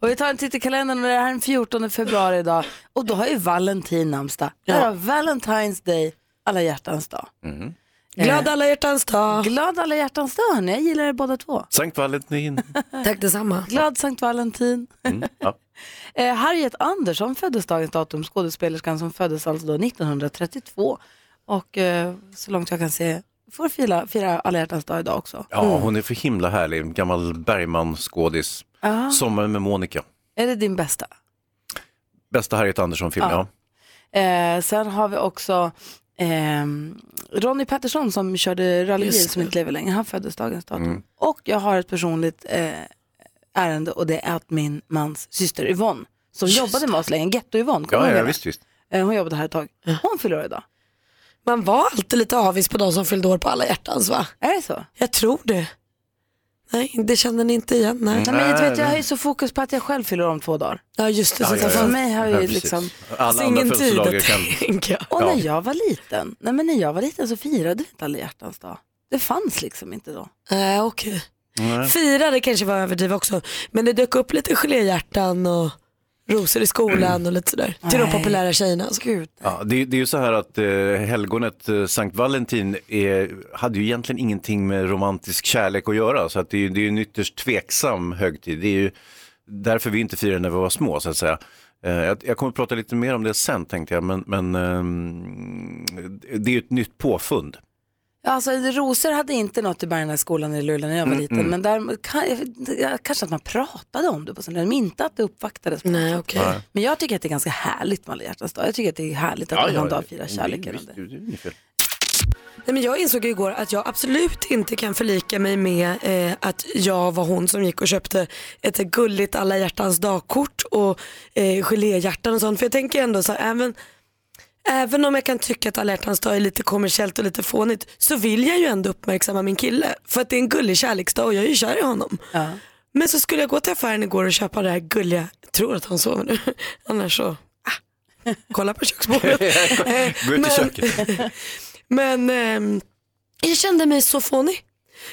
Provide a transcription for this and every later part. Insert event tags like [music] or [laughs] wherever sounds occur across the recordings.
Och vi tar en titt i kalendern och det här är den 14 februari idag. Och då har ju Valentin namnsdag. Där har Valentine's Day, alla hjärtans dag. Mm. Glad alla hjärtans dag. Glad alla hjärtans dag hörni, jag gillar er båda två. Sankt Valentin. Tack detsamma. Glad Sankt Valentin. Mm, ja. [laughs] Eh, Harriet Andersson föddes dagens datum, skådespelerskan som föddes alltså då 1932. Och eh, så långt jag kan se får fira, fira alla hjärtans dag idag också. Mm. ja, hon är för himla härlig. En Gammal Bergman-skådis. Ja. Sommaren med Monica. Är det din bästa? Bästa Harriet Andersson-film, ja. Eh, sen har vi också eh, Ronny Pettersson som körde rallybil Just det. som inte lever längre. Han föddes dagens datum. Och jag har ett personligt eh, ärende och det är att min mans syster Yvonne som jobbade med oss länge, Getto-Yvonne, kommer du Ja, ihåg ja, henne? visst, visst. Eh, Hon jobbade här ett tag. Hon fyller år idag. Man var alltid lite avis på de som fyllde år på alla hjärtans va? Är det så? Jag tror det. Nej, det känner ni inte igen. Nej. Nej, men jag, vet, jag har ju så fokus på att jag själv fyller om två dagar. Ja, just det. Ja, så ja, tar ja. För fan- mig har Ja, jag ju precis. liksom... Alla Alltså, andra ingen tid födelsedagar att kan... tänka. [laughs] Och Ja. när jag var liten, nej men när jag var liten så firade vi inte alla hjärtans dag. Det fanns liksom inte då. Nej, okej. Nej. Fira, det kanske var överdrivet också. Men det dök upp lite geléhjärtan och rosor i skolan och lite sådär. Till de Nej. populära tjejerna. Alltså. Gud. Ja, det, det är ju så här att eh, helgonet eh, Sankt Valentin är, hade ju egentligen ingenting med romantisk kärlek att göra. Så att det, är, ju- det är ju en ytterst tveksam högtid. Det är ju därför vi inte firade när vi var små så att säga. Eh, jag, jag kommer att prata lite mer om det sen tänkte jag, men, men ehm, det är ju ett nytt påfund. Ja, Alltså, rosor hade inte något i Bergnässkolan i Luleå när jag var liten. Men där, kan, jag- kanske att man pratade om det på sådana men inte att det uppvaktades. på något Nej, sätt. okej. Nej. Men jag tycker att det är ganska härligt med alla hjärtans dag. Jag tycker att det är härligt att man någon dag firar det- kärleken. och visst, det. det är inget fel. Nej, men jag insåg ju igår att jag absolut inte kan förlika mig med eh, att jag var hon som gick och köpte ett gulligt alla hjärtans dagkort och eh, geléhjärtan och sånt. För jag tänker ändå så här, även, även om jag kan tycka att alla hjärtans dag är lite kommersiellt och lite fånigt så vill jag ju ändå uppmärksamma min kille. För att det är en gullig kärleksdag och jag är ju kär i honom. Ja. Men så skulle jag gå till affären igår och köpa det här gulliga, jag tror att han sover nu, [laughs] annars så, ah, kolla på köksbordet. Eh, [laughs] Gå ut i men- köket. [laughs] men ehm, jag kände mig så fånig.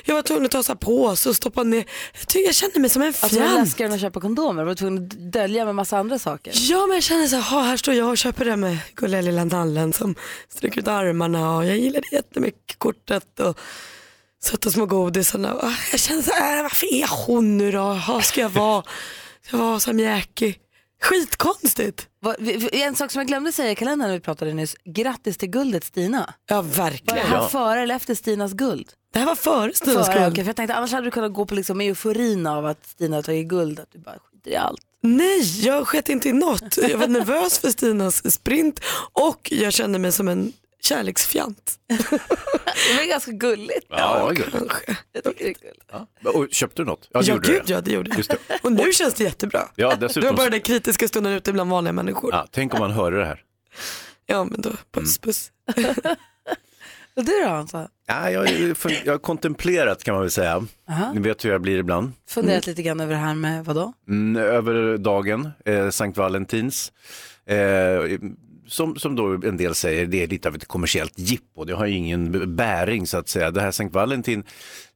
Jag var tvungen att ta så här påse och stoppa ner. Jag, tycker jag kände mig som en Alltså, det var fjant. läskigare än att köpa kondomer. Man var tvungen att dölja med massa andra saker. ja men jag kände så här, "Ha, här står jag och köper det med gulliga lilla nallen som sträcker ut armarna och jag gillade jättemycket kortet och söta små godisarna. Ah. Och Jag kände så här, "Äh, varför är hon nu då? Hur ska jag vara? Ska jag vara som Mjäkig? Skitkonstigt. Vad- vi- vi- En sak som jag glömde säga i kalendern när vi pratade nyss. Grattis till guldet Stina. Ja Var det verkligen. här Ja. före eller efter Stinas guld? Det här var före Före, Stinas okej, skull. för jag tänkte annars hade du kunnat gå på liksom euforin av att Stina har tagit guld. Att du bara skiter i allt. Nej, jag sket inte i något. Jag var nervös för Stinas sprint och jag kände mig som en kärleksfjant. Det var ganska gulligt. Ja, det är gulligt. Kanske. Jag tycker det är kul. och köpte du något? Ja, det Ja, gjorde gud du. ja, det gjorde jag. Just det. Och nu känns det jättebra. Ja, [laughs] Det var dessutom. bara den kritiska stunden ute bland vanliga människor. Ja, tänk om man hörde det här. Mm. Ja, men då, puss puss. Och du då Hansa? Ja, jag, är- jag har kontemplerat kan man väl säga. Aha. Ni vet hur jag blir ibland. Funderat lite grann över det här med vadå? Mm, över dagen, eh, Sankt Valentins. Eh, som, som då en del säger, det är lite av ett kommersiellt jippo. Det har ju ingen b- bäring så att säga. Det här Sankt Valentin,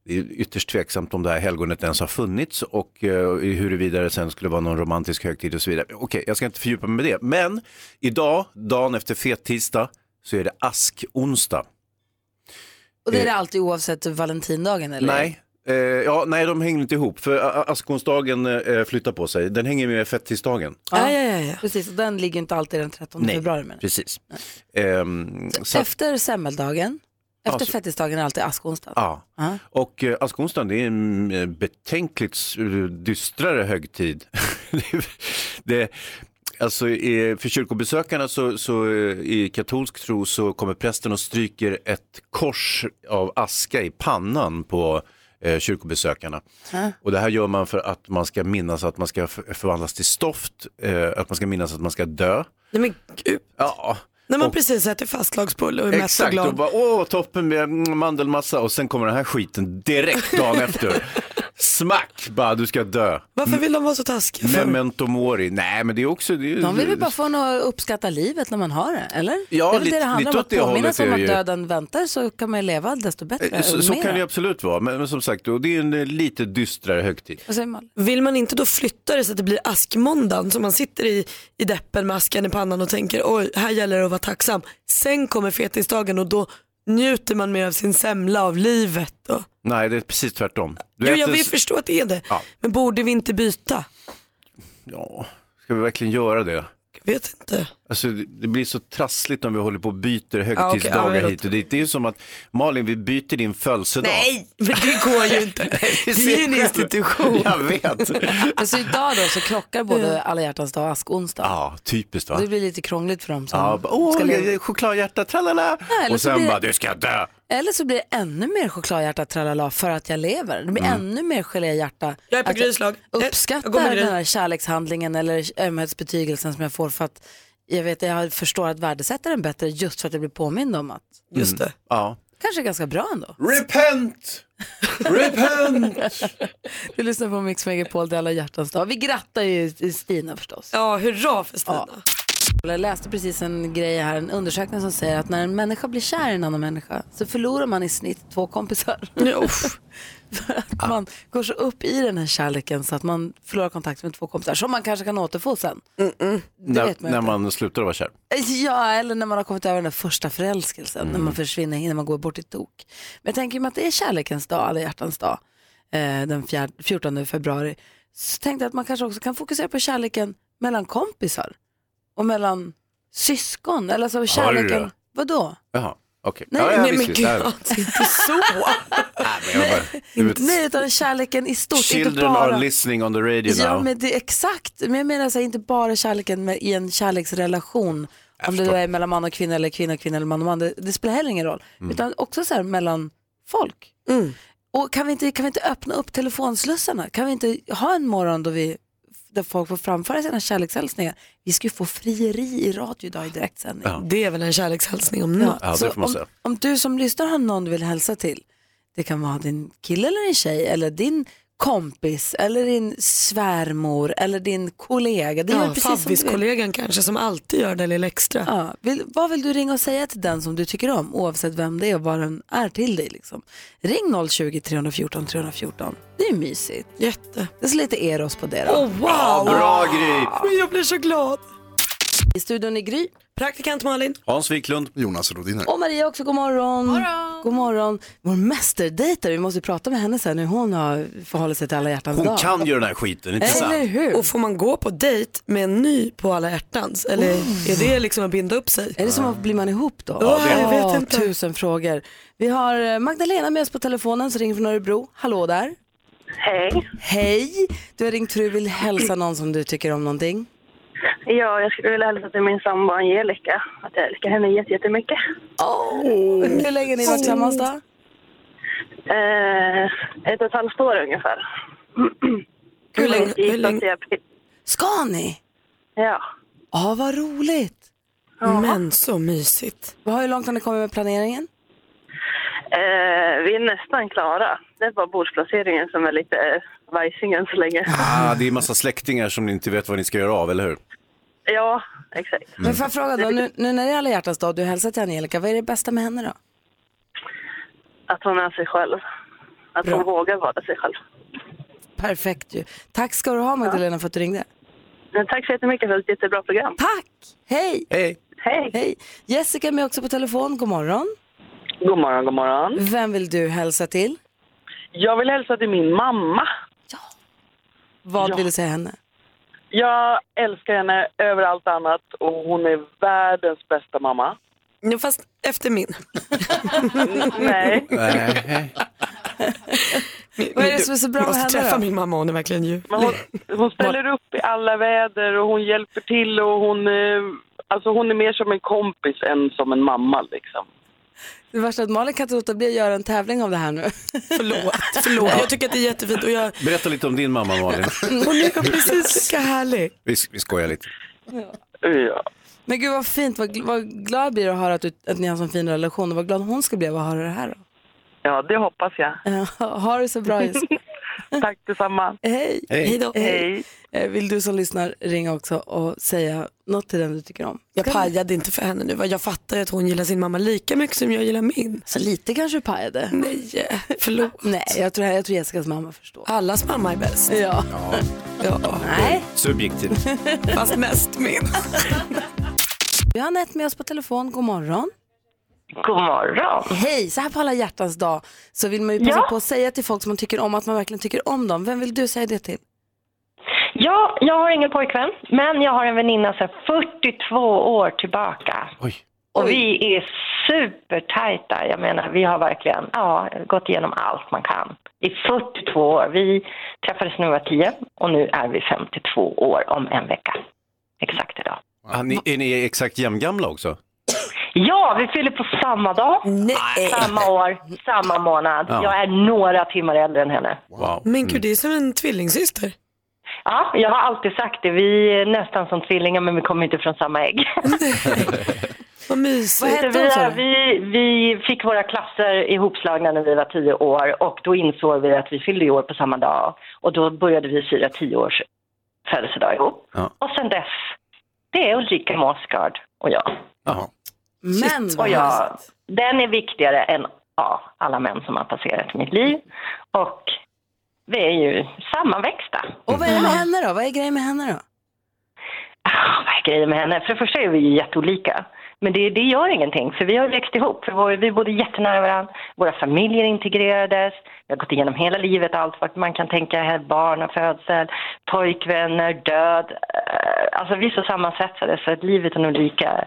det är ytterst tveksamt om det här helgonet ens har funnits och eh, huruvida det sen skulle vara någon romantisk högtid och så vidare. Okej, jag ska inte fördjupa mig med det. Men idag, dagen efter fettisdag, så är det askonsdag. Och det är Eh. det alltid oavsett valentindagen eller? Nej. Eh, ja, nej, de hänger inte ihop, för a- a- askonsdagen eh, flyttar på sig. Den hänger med fettisdagen. Ja, ja, ja, ja. Precis, och den ligger ju inte alltid den 13 Nej. februari menar jag. Precis. Ehm, så, att- Efter semmeldagen, efter Alltså- fettisdagen är alltid askonsdag. ja. Ja. Och eh, askonsdagen det är en eh, betänkligt s- dystrare högtid. [laughs] det, alltså, eh, för kyrkobesökarna så, så, eh, i katolsk tro så kommer prästen och stryker ett kors av aska i pannan på eh, kyrkobesökarna. Och det här gör man för att man ska minnas att man ska f- förvandlas till stoft, eh, att man ska minnas att man ska dö. Nej men gud. Ja. När man Och- precis ätit fastlagsbulle och är mätt och Exakt, och glad. [laughs] bara åh toppen med mm, mandelmassa och sen kommer den här skiten direkt dagen efter. Smack bara, du ska dö. Varför vill de vara så taskiga? för? Memento mori. Nej, men det är också... Det är, De vill väl bara få en att uppskatta livet när man har det, eller? Ja, det är väl lite- det det handlar lite om, åt att det påminna hållet sig om är att det ju. Eh, döden väntar så kan man ju leva desto bättre. så, och så mera. kan det absolut vara, men, men som sagt, och det är en eh, lite dystrare högtid. Vad säger Malin? Vill man inte då flytta det så att det blir askmåndagen så man sitter i, i deppen med askan i pannan och tänker oj, här gäller det att vara tacksam. Sen kommer fetisdagen och då njuter man mer av sin semla, av livet. Och... Nej, det är precis tvärtom. Du Jo, äter jag vill s- förstå att det är det. Ja. Men borde vi inte byta? ja, ska vi verkligen göra det? Jag vet inte. Alltså, det det blir så trassligt om vi håller på och byter Ja, okej, ja, högtidsdagar men då- hit och dit. Det är ju som att, Malin, vi byter din födelsedag. [laughs] men det går ju inte. det är ju en institution. Jag [laughs] vet. Men Alltså, så Alltså, idag då så krockar både alla hjärtans dag och askonsdag. Ja, typiskt va? Det blir lite krångligt för dem som Ja, bara, åh, ska leva. chokladhjärta, tralala. eller och så sen blir det- bara, du ska dö. Mm. Eller så blir det ännu mer chokladhjärta tralala för att jag lever. Det blir Mm. ännu mer geléhjärta. Jag är på Att Gryslag. Eh, jag går Alltså, Uppskattar med Gry. den här kärlekshandlingen eller ömhetsbetygelsen som jag får för att jag vet jag förstår att värdesätta den bättre just för att jag blir påmind om att Just det. Ja. kanske är ganska bra ändå. Repent! Repent! [laughs] Du lyssnar på Mix Megapol, det är alla hjärtans dag. Vi grattar ju Stina förstås. Ja, hurra för Stina. Jag läste precis en grej här, en undersökning som säger att när en människa blir kär i en annan människa så förlorar man i snitt två kompisar. Ja. uff. [laughs] För att man går så upp i den här kärleken så att man förlorar kontakt med två kompisar som man kanske kan återfå sen. Det när, vet man när ju inte. man slutar vara kär. Ja, eller när man har kommit över den där första förälskelsen, när Mm. man försvinner, innan man går bort i tok. Men jag tänker mig att det är kärlekens dag, alla hjärtans dag, eh, den fjär- 14 februari. Så tänkte jag att man kanske också kan fokusera på kärleken mellan kompisar och mellan syskon. Eller så kärleken, Arra. vadå? Jaha, okej. Nej, ja, ja, Nej men visst, gud, visst. [laughs] Ja, alltså, inte så. ja, men jag bara- du vet, Nej, utan kärleken i stort. inte Children bara... are listening on the radio Ja, now. men det, exakt. Men jag menar så här, inte bara kärleken med, i en kärleksrelation. Om det förstår. är mellan man och kvinna eller kvinna och kvinna eller man och man. Det, det spelar heller ingen roll. Mm. Utan också så här mellan folk. Mm. Och kan vi, inte, kan vi inte öppna upp telefonslussarna? Kan vi inte ha en morgon då vi, där folk får framföra sina kärlekshälsningar? Vi ska ju få frieri i radio idag i direktsändning. Ja. Det är väl en kärlekshälsning om något. Ja, det Så får man om, säga. om du som lyssnar har någon du vill hälsa till, det kan vara din kille eller din tjej eller din kompis eller din svärmor eller din kollega. Det är Ja, precis som du vill. Favvis-kollegan kanske som alltid gör det lilla extra. Ja, vill, vad vill du ringa och säga till den som du tycker om oavsett vem det är och vad den är till dig? Liksom. Ring 020-314 314. Det är ju mysigt. Jätte. Det är så lite Eros på det då. Oh, wow! Bra Gry! Men jag blir så glad. I studion i Gry. Praktikant Malin. Hans Wiklund. Jonas Rodiner. Och Maria också, god morgon. God morgon. Vår mästerdejtare, vi måste prata med henne sen nu hon har förhållit sig till alla hjärtans Hon dag. kan ju den här skiten, inte Eller sant? hur? Och får man gå på dejt med en ny på alla hjärtans? Eller är det liksom att binda upp sig? Oh. Är det som att blir man ihop då? Ja, det är det. Åh, Jag vet inte. Tusen frågor. Vi har eh, Magdalena med oss på telefonen som ringer från Örebro. Hallå där. Hej. Hej! Du har ringt för du vill hälsa någon som du tycker om någonting. Ja, jag skulle vilja hälsa till min sambo Angelica att jag älskar henne jätte- jättemycket. Oh! Hur länge har ni varit tillsammans då? Eh, ett och ett halvt år ungefär. Hur länge? Vi gick Hur länge? till april. Ska ni? Ja. Ja, vad roligt. Men så mysigt. Hur långt har ni kommit med planeringen? Eh, vi är nästan klara. Det är bara bordsplaceringen som är lite eh, vajsing än så länge. Ah, det är massa släktingar som ni inte vet vad ni ska göra av, eller hur? Ja, exakt. Men får jag fråga då, nu, nu när det är alla hjärtans dag och du hälsar till Angelica, vad är det bästa med henne då? Att hon är sig själv. Att hon vågar vara sig själv. Perfekt ju. Tack ska du ha Magdalena för att du ringde. Men tack så jättemycket för ett jättebra program. Tack! Hej! Hej! Hej! Hej! Jessica är med också på telefon. God morgon. God morgon, god morgon. Vem vill du hälsa till? Jag vill hälsa till min mamma. Vad Ja. vill du säga henne? Jag älskar henne över allt annat och hon är världens bästa mamma. Ja, fast efter min. Nej. Nej. Vad är det som är så bra med måste henne träffa då? min mamma, hon är verkligen ljuvlig. Men hon, hon ställer upp i alla väder och hon hjälper till och hon, eh, alltså hon är mer som en kompis än som en mamma liksom. Det värsta är att Malin kan inte låta bli att göra en tävling av det här nu. Förlåt, förlåt. Jag tycker att det är jättefint och jag, Berätta lite om din mamma, Malin. [laughs] hon är precis lika härlig. Vi, vi skojar lite. Ja. Men gud vad fint, vad, gl- vad glad jag blir att höra att, du, att ni har en sån fin relation och vad glad hon ska bli av att höra det här då. ja, det hoppas jag. [laughs] [laughs] Eh, Ha det så bra Jessica. Tack detsamma. Hej. Hej. Hej då. Hej. Eh, Vill du som lyssnar ringa också och säga något till den du tycker om? Jag [laughs] pajade inte för henne nu. va? Jag fattar ju att hon gillar sin mamma lika mycket som jag gillar min. Så lite kanske du pajade. Nej, förlåt. Nej, jag tror, jag tror Jessicas mamma förstår. Allas mamma är bäst. Ja. Ja. Nej. [laughs] Subjektivt. Fast mest min. Vi har Anette med oss på telefon. God morgon. God morgon. Hej, så här på alla hjärtans dag så vill man ju passa Ja. på att säga till folk som man tycker om att man verkligen tycker om dem. Vem vill du säga det till? Ja, jag har ingen pojkvän, men jag har en väninna sedan 42 år tillbaka. Oj. Och vi är supertajta. Jag menar, vi har verkligen ja, gått igenom allt man kan. I 42 år. Vi träffades när vi var 10 och nu är vi 52 år om en vecka. Exakt idag. Ah, ni, är ni exakt jämngamla också? Ja, vi fyller på samma dag, Nej. samma år, samma månad. Ja. Jag är några timmar äldre än henne. Wow. Mm. Men gud, det är som en tvillingsyster. Ja, jag har alltid sagt det. Vi är nästan som tvillingar, men vi kommer inte från samma ägg. [laughs] Vad Vad mysigt. hette vi, hon sa är- du? vi, vi fick våra klasser ihopslagna när vi var tio år och då insåg vi att vi fyllde i år på samma dag och då började vi fira tio års födelsedag ihop. Ja. Och sen dess, det är Ulrika Måsgard och jag. Jaha. Men vad Och jag, härligt. den är viktigare än ja, alla män som har passerat mitt liv och vi är ju sammanväxta. Och vad är det med henne då? Vad är grejen med henne då? Ah, vad är grejen med henne? För det första är vi ju jätteolika. Men det, det gör ingenting, för vi har ju växt ihop. För vår, vi bodde jättenära varandra, våra familjer integrerades. Vi har gått igenom hela livet, allt vad man kan tänka. här, Barnafödsel, pojkvänner, död. Eh, Alltså vi är så sammansvetsade, så att livet är nog lika.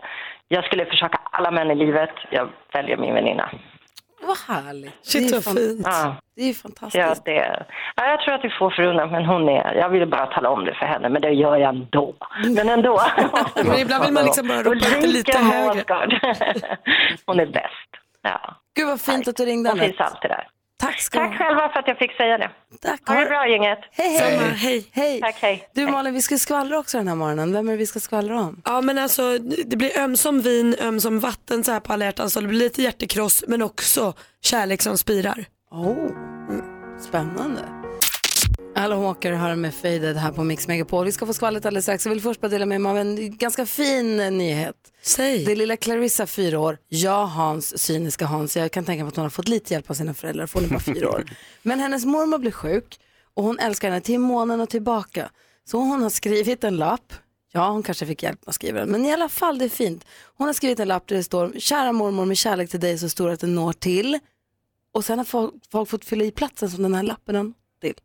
Jag skulle försöka alla män i livet. Jag väljer min väninna. Vad härligt. Shit det, är vad fan- fint. Ah, det är ju ja, fantastiskt. det, ja, jag tror att vi får förunnat, men hon är... Jag ville bara tala om det för henne, men det gör jag ändå. Men ändå. [laughs] [laughs] Men ibland vill man liksom bara ropa upp det lite Ulrika högre. Måsgard. Hon är bäst. Ja, Gud vad fint att du ringde hon finns Anette. alltid där. Tack ska du Tack ha. själva för att jag fick säga det. Tack. Ha det Ha- bra gänget. Hej, Samma, hej. hej. Hej. Tack, hej. Du Malin, vi ska skvallra också den här morgonen. Vem är det vi ska skvallra om? Ja men alltså det blir ömsom vin, ömsom vatten så här på alla hjärtans dag. Det blir lite hjärtekross men också kärlek som spirar. Oh, spännande. Alan Walker har med Faded här på Mix Megapol. Vi ska få skvallret alldeles strax. Jag vill först bara dela med mig av en ganska fin eh, nyhet. Det är Säg. lilla Clarissa, fyra år. Jag, Hans, cyniska Hans. Jag kan tänka mig att hon har fått lite hjälp av sina föräldrar, för hon är bara fyra år. Men hennes mormor blir sjuk och hon älskar henne till månen och tillbaka. Så hon har skrivit en lapp. Ja, hon kanske fick hjälp med att skriva den, men i alla fall, det är fint. Hon har skrivit en lapp där det står, kära mormor, med kärlek till dig är så stor att den når till. Och sen har folk, folk fått fylla i platsen som den här lappen har till.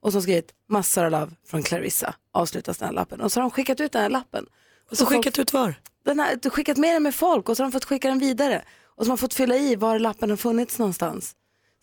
Och så har hon skrivit massor av love från Clarissa, avslutas den här lappen. Och så har de skickat ut den här lappen. Och så folk- skickat ut var. den här, du skickat med den med folk och så har de fått skicka den vidare. Och så har man fått fylla i var lappen har funnits någonstans.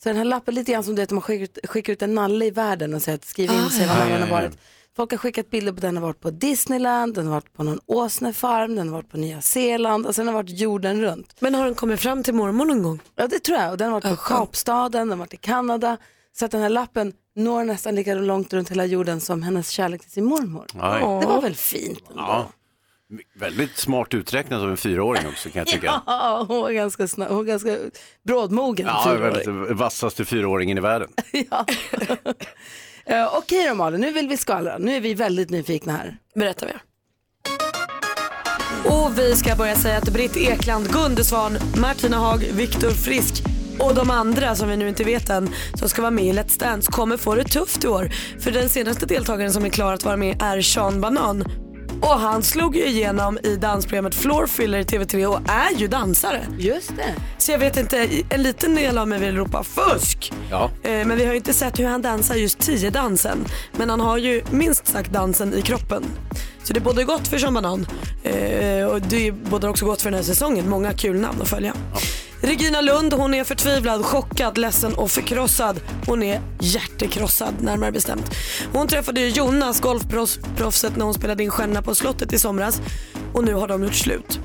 Så den här lappen är lite grann som du vet, man skickar ut, skickar ut en nalle i världen och säger att skriv in och Ah, säg var ja. nallen har Ja, ja, ja. varit. Folk har skickat bilder på den har varit på Disneyland, den har varit på någon åsnefarm, den har varit på Nya Zeeland och sen har den varit jorden runt. Men har den kommit fram till mormor någon gång? Ja det tror jag, och den har varit på skönt. Kapstaden, den har varit i Kanada. Så att den här lappen når nästan lika långt runt hela jorden som hennes kärlek till sin mormor. Aj. Det var väl fint ändå? Ja. Väldigt smart uträknat av en fyraåring också kan [laughs] jag tycka. Ja, hon var ganska, snabb, hon var ganska brådmogen. typ. Ja, fyraåring. väldigt vassaste fyraåringen i världen. Ja. Eh, Okej då Malin, nu vill vi skvallra. Nu är vi väldigt nyfikna här. berättar vi. Och vi ska börja säga att Britt Ekland, Gunde Svan, Martina Haag, Viktor Frisk och de andra som vi nu inte vet än som ska vara med i Let's Dance kommer få det tufft i år. För den senaste deltagaren som är klar att vara med är Sean Banan. Och han slog ju igenom i dansprogrammet Floor Filler i TV3 och är ju dansare. Just det. Så jag vet inte, en liten del av mig vill ropa fusk. Ja. Eh, Men vi har ju inte sett hur han dansar just tio-dansen. Men han har ju minst sagt dansen i kroppen. Så det är både gott för Sean Banan eh, och det är både också gott för den här säsongen. Många kul namn att följa. Regina Lund, hon är förtvivlad, chockad, ledsen och förkrossad. Hon är hjärtekrossad närmare bestämt. Hon träffade ju Jonas, golfproffset, när hon spelade in Stjärnorna på slottet i somras. Och nu har de gjort slut.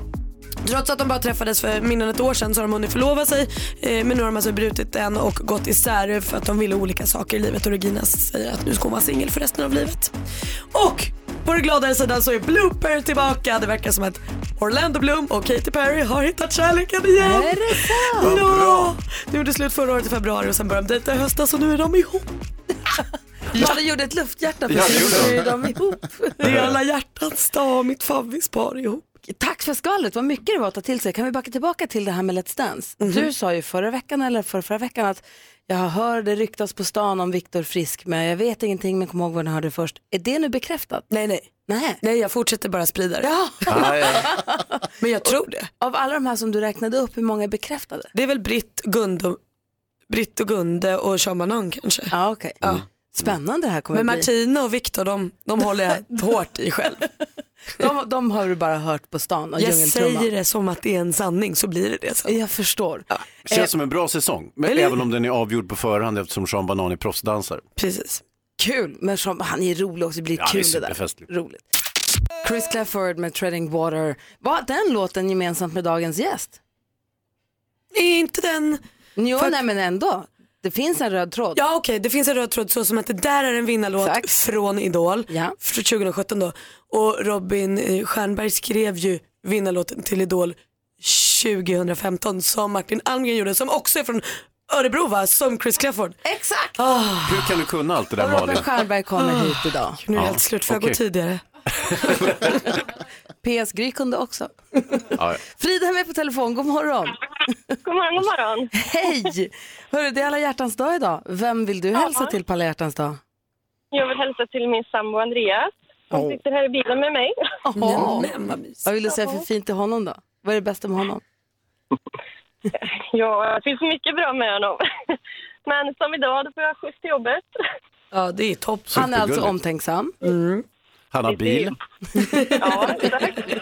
Trots att de bara träffades för mindre än ett år sedan så har de hunnit förlova sig. Eh, Men nu har de alltså brutit den och gått isär för att de ville olika saker i livet. Och Regina säger att nu ska hon vara singel för resten av livet. Och på den gladare sidan så är Blooper tillbaka. Det verkar som att Orlando Bloom och Katy Perry har hittat kärleken igen. Är det sant? Ja! De gjorde slut förra året i februari och sen började de dejta i höstas och nu är de ihop. Malin gjorde ett lufthjärta Ja, det precis, gjorde så hon. är de [laughs] ihop. Det är alla hjärtans dag och mitt favvispar ihop. Tack för skvallret, vad mycket det var att ta till sig. Kan vi backa tillbaka till det här med Let's Dance? Mhm. Du sa ju förra veckan eller förra, förra veckan att jag hör det ryktas på stan om Viktor Frisk men jag vet ingenting men kom ihåg vad ni hörde det först. Är det nu bekräftat? Nej, nej. Nej. Nej, jag fortsätter bara sprida det. Ah, [laughs] ja. Men jag tror det. Av alla de här som du räknade upp, hur många är bekräftade? Det är väl Britt, Gunde, Britt och Gunde och Shamanan kanske. Ja, okej. Mm. Spännande det här kommer Men att bli. Martina och Viktor, de, de [laughs] håller [laughs] jag hårt i själv. De, de har du bara hört på stan och Jag djungeltrumman. säger det som att det är en sanning så blir det det sen. Jag förstår. Eh, Känns som en bra säsong, men Eller- även om den är avgjord på förhand eftersom Sean Banan är proffsdansare. Precis. Kul, men som, han är rolig också. Det blir Ja, det är kul det, superfestligt. där. Roligt. Chris Clafford med Treading Water. Var den låten gemensamt med dagens gäst? Är inte den... Jo, För- nej men ändå. Det finns en röd tråd. Ja okej, det finns en röd tråd så som att det där är en vinnarlåt Exakt. från Idol. Ja. Från 2017 då. Och Robin eh, Stjernberg skrev ju vinnarlåten till Idol 2015 som Martin Almgren gjorde som också är från Örebro va, som Chris Clafford. Ah, Exakt! Hur kan du kunna allt det där Robert Malin? Ah. Stjernberg kommer hit idag. Nu är det Ja, helt slut, får jag okej. gå tidigare? PS Gry kunde också. Ja, ja. Frida är med på telefon, god morgon. [laughs] God morgon, god morgon. Hej! Hörru, det är alla hjärtans dag idag. Vem vill du hälsa till på alla hjärtans dag? Jag vill hälsa till min sambo Andreas som sitter här i bilen med mig. Åh. Nej, men vad mysigt. Vad vill du säga för fint till honom då? Vad är det bästa med honom? [laughs] Ja, det finns mycket bra med honom. [laughs] Men som idag, då får jag skjuts till jobbet. [laughs] Ja det är topp. Han är alltså Supergulligt. Mm. omtänksam. Han har bil. [laughs] Ja, exakt. [laughs]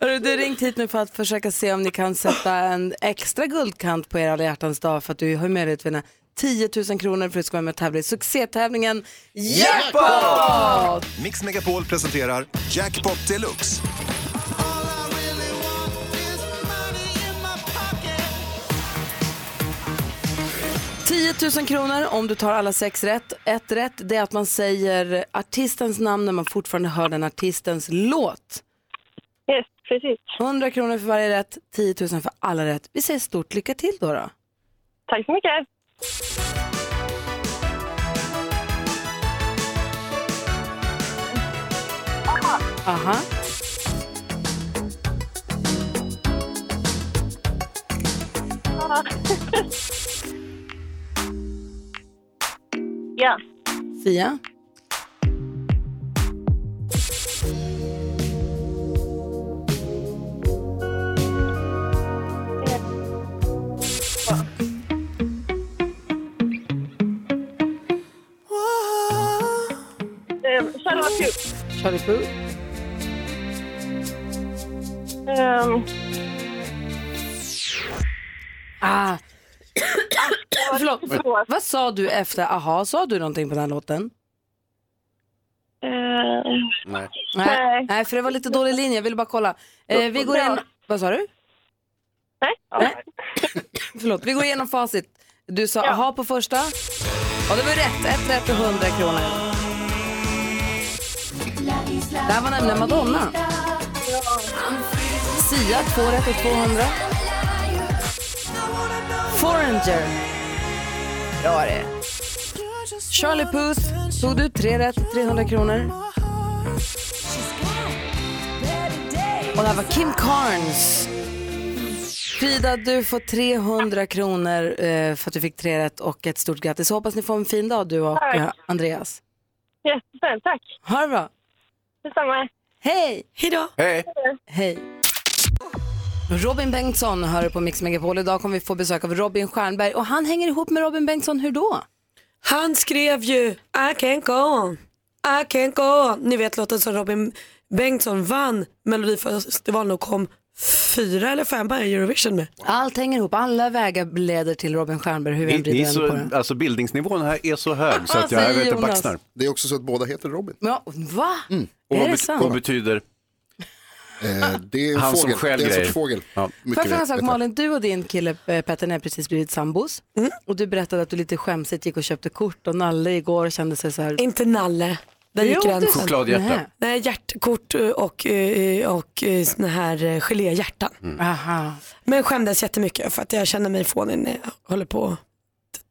Hörru, du har ringt hit nu för att försöka se om ni kan sätta en extra guldkant på er alla hjärtans dag för att du har möjlighet att vinna 10 000 kronor för att du ska vara med och tävla i succétävlingen Jackpot! Mix Megapol presenterar Jackpot Deluxe. Jackpot! 10 000 kronor om du tar alla sex rätt. Ett rätt det är att man säger artistens namn när man fortfarande hör den artistens låt. Yes, precis. 100 kronor för varje rätt, 10 000 för alla rätt. Vi säger stort lycka till då. då. Tack så mycket. Aha. Ja, Sia? eh, Charlotte var kul. Charlie Puth? Ehm, [coughs] Ah. Förlåt, Förlåt. vad sa du efter aha? Sa du någonting på den här låten? eh, Nej. Nej. Nej, för det var lite dålig linje. Jag ville bara kolla. Eh, vi går in... Vad sa du? nej. Nej. [laughs] Förlåt, vi går igenom facit. Du sa Ja. aha på första. Ja, det var rätt. Ett rätt och 100 kronor. Det här var nämligen Madonna. Sia, två rätt och 200. Foreigner. Ja, det. Charlie Puth tog du tre rätt, 300 kronor. Och det här var Kim Carnes. Frida, du får 300 kronor eh, för att du fick tre rätt och ett stort grattis. Så hoppas ni får en fin dag du och Tack. eh, Andreas. Jättefint, tack. Ha det bra. Detsamma. Hej! Hejdå. Hej! Hej! Robin Bengtsson hör på Mix Megapol. Idag kommer vi få besök av Robin Stjernberg och han hänger ihop med Robin Bengtsson. Hur då? Han skrev ju I can't go on, I can't go on. Ni vet låten som Robin Bengtsson vann Melodifestivalen och kom fyra eller femma i Eurovision med. Allt hänger ihop. Alla vägar leder till Robin Stjernberg hur vi än Ni, ni vrider är och vänder på det. så, alltså bildningsnivån här är så hög så att jag, jag Säger vet inte Jonas. baxnar. Det är också så att båda heter Robin. Ja, va? Och Är det vad, bet- vad sant? betyder? Eh, det är en Han som fågel. stjäl det är en grejer. sorts fågel. Ja. Mycket Får jag fråga en vet- sak vet jag. Malin, du och din kille eh, Petter ni har precis blivit sambos Mm. och du berättade att du lite skämsigt gick och köpte kort och Nalle igår kände sig så här. Inte Nalle, där gick Jo, gränsen. du- Chokladhjärta. Nej. Nej, hjärtkort eh, och, eh, och eh, såna här eh, geléhjärtan. Aha. Men jag skämdes jättemycket för att jag känner mig fånig när jag håller på och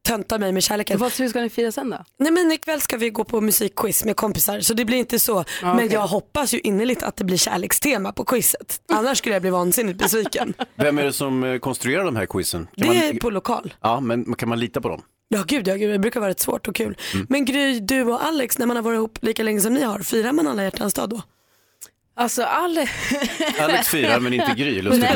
töntar mig med kärleken. Vad, hur ska ni fira sen då? Nej men ikväll ska vi gå på musikquiz med kompisar så det blir inte så. men okej. jag hoppas ju innerligt att det blir kärlekstema på quizet. Annars skulle jag bli [laughs] vansinnigt besviken. Vem är det som eh, konstruerar de här quizen? Kan det är man, på lokal. Ja, men kan man lita på dem? Ja gud, ja gud, det brukar vara rätt svårt och kul. Mm. Men Gry, du och Alex, när man har varit ihop lika länge som ni har, firar man alla hjärtans dag då? Alltså Alex... [laughs] Alex firar men inte [laughs] Gry, lustigt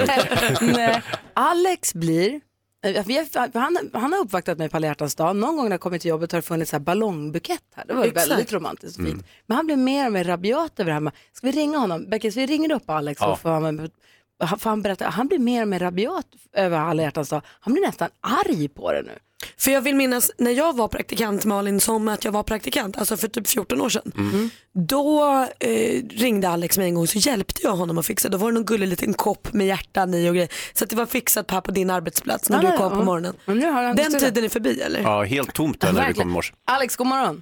nog. Nej. Alex blir... eh, vi har- Han, han har uppvaktat mig på alla hjärtans dag. Någon gång när jag kommit till jobbet har det funnits så här ballongbukett här. Det var Exakt. väldigt romantiskt och fint. Men han blir mer och mer rabiat över det här med, ska vi ringa honom? Beckis, vi ringer upp Alex Ja. och får han, han- får han berätta. Han blir mer och mer rabiat över alla hjärtans dag. Han blir nästan arg på det nu. För jag vill minnas Alltså, när jag var praktikant Malin som att jag var praktikant, alltså för typ 14 år sedan. Då eh, ringde Alex mig en gång så hjälpte jag honom att fixa. Då var det någon gullig liten kopp med hjärtan i och grejer. Så att det var fixat här på din arbetsplats när Ja, du ja, kom ja. på morgonen. Men nu har han Den tiden är förbi eller? Ja, helt tomt där när vi kom i morse. Alex, god morgon.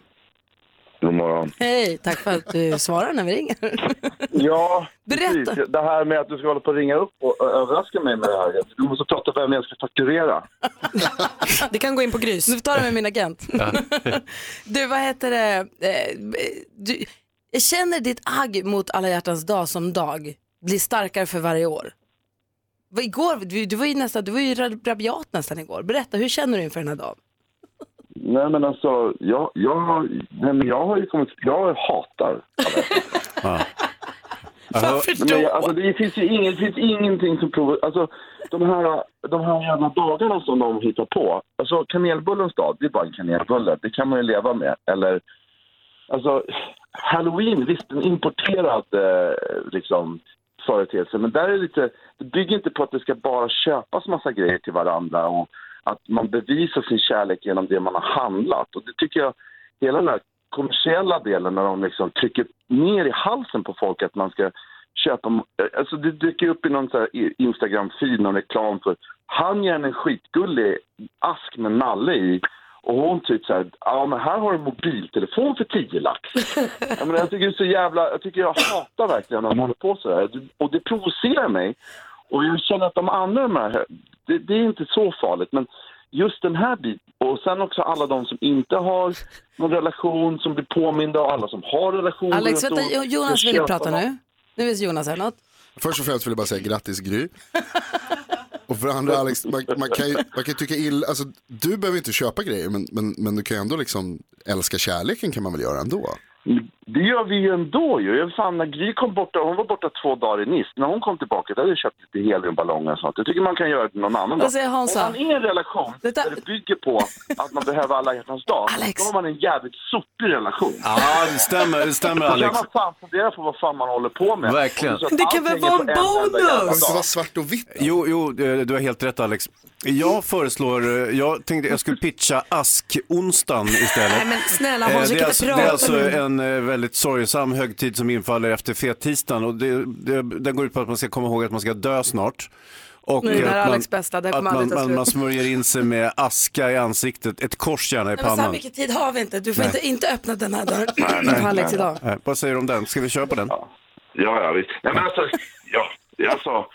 God morgon. Hej, tack för att du svarar när vi ringer. [laughs] Ja, Berätta. precis. Det här med att du ska hålla på och ringa upp och ö- överraska mig med det här. Du måste prata vem jag ska fakturera. [laughs] Det kan gå in på grys. Nu tar det med min agent. [laughs] du, vad heter det? Eh, Du, jag känner ditt agg mot alla hjärtans dag som dag blir starkare för varje år. Vad Igår, du, du var ju nästan, du var ju ra- rabiat nästan igår. Berätta, hur känner du inför den här dagen? Nej men alltså, jag, jag, nej, men jag har ju kommit, jag hatar. [laughs] Varför Nej, men jag, då? alltså, det finns ju inget, det finns ingenting som provar, alltså de här, de här jävla dagarna som de hittar på. Alltså kanelbullens dag, det är bara en kanelbulle, det kan man ju leva med. Eller, alltså halloween, visst en importerad eh, liksom företeelse, men där är det lite, det bygger inte på att det ska bara köpas massa grejer till varandra och att man bevisar sin kärlek genom det man har handlat. Och det tycker jag, hela den här kommersiella delen när de liksom trycker ner i halsen på folk att man ska köpa, alltså det dyker upp i någon så här Instagram-feed, någon reklam för han ger henne en skitgullig ask med nalle i och hon typ så här, ja men här har du en mobiltelefon för [laughs] 10 lax. Jag, menar, jag tycker det är så jävla, jag tycker jag hatar verkligen när de håller på så här. Och det provocerar mig. Och jag känner att de andra, de här, det, det är inte så farligt. Men just den här biten, och sen också alla de som inte har någon relation, som blir påminda och alla som har relationer. Alex, och- vänta, Jo- Jonas vill köpa prata något. nu. Nu vill Jonas säga något. Först och främst vill jag bara säga grattis Gry. Och för det andra Alex, man, man kan ju man kan ju tycka illa, alltså, du behöver inte köpa grejer men, men, men du kan ju ändå liksom älska kärleken kan man väl göra ändå. Det gör vi ju ändå ju. Jag fan, när Gry kom borta, hon var borta två dagar i Nice. När hon kom tillbaka, då hade jag köpt lite heliumballonger och sånt. Jag tycker man kan göra det någon annan Vad säger Hansa? Om man är i en relation Det där- där det bygger på att man behöver alla hjärtans dag, Alex. då har man en jävligt sopig relation. Ja, det stämmer, det stämmer Då kan Alex. man fan fundera på vad fan man håller på med. Verkligen. Om så att Det kan väl allting är vara på en enda jävla bonus? Det måste dag. vara svart och vitt. Jo, jo, eh, du har helt rätt Alex. Jag föreslår, eh, jag tänkte jag skulle pitcha askonsdagen istället. Nej men snälla Eh, Hans, vi Det är, kan alltså, inte det prata är alltså nu. en eh, väldigt sorgesam högtid som infaller efter fettisdagen och det, det, den går ut på att man ska komma ihåg att man ska dö snart. Och Nu är det eh, där att man, Alex bästa, det här att kommer man, aldrig ta man, slut. man smörjer in sig med aska i ansiktet, ett kors gärna i Men så här pannan. mycket tid har vi inte. Du får Nej. inte, inte öppna den här dörren. På Alex idag. Eh, Vad säger du om den? Ska vi köra på den? Ja, ja, visst. Nej, men alltså, ja, alltså,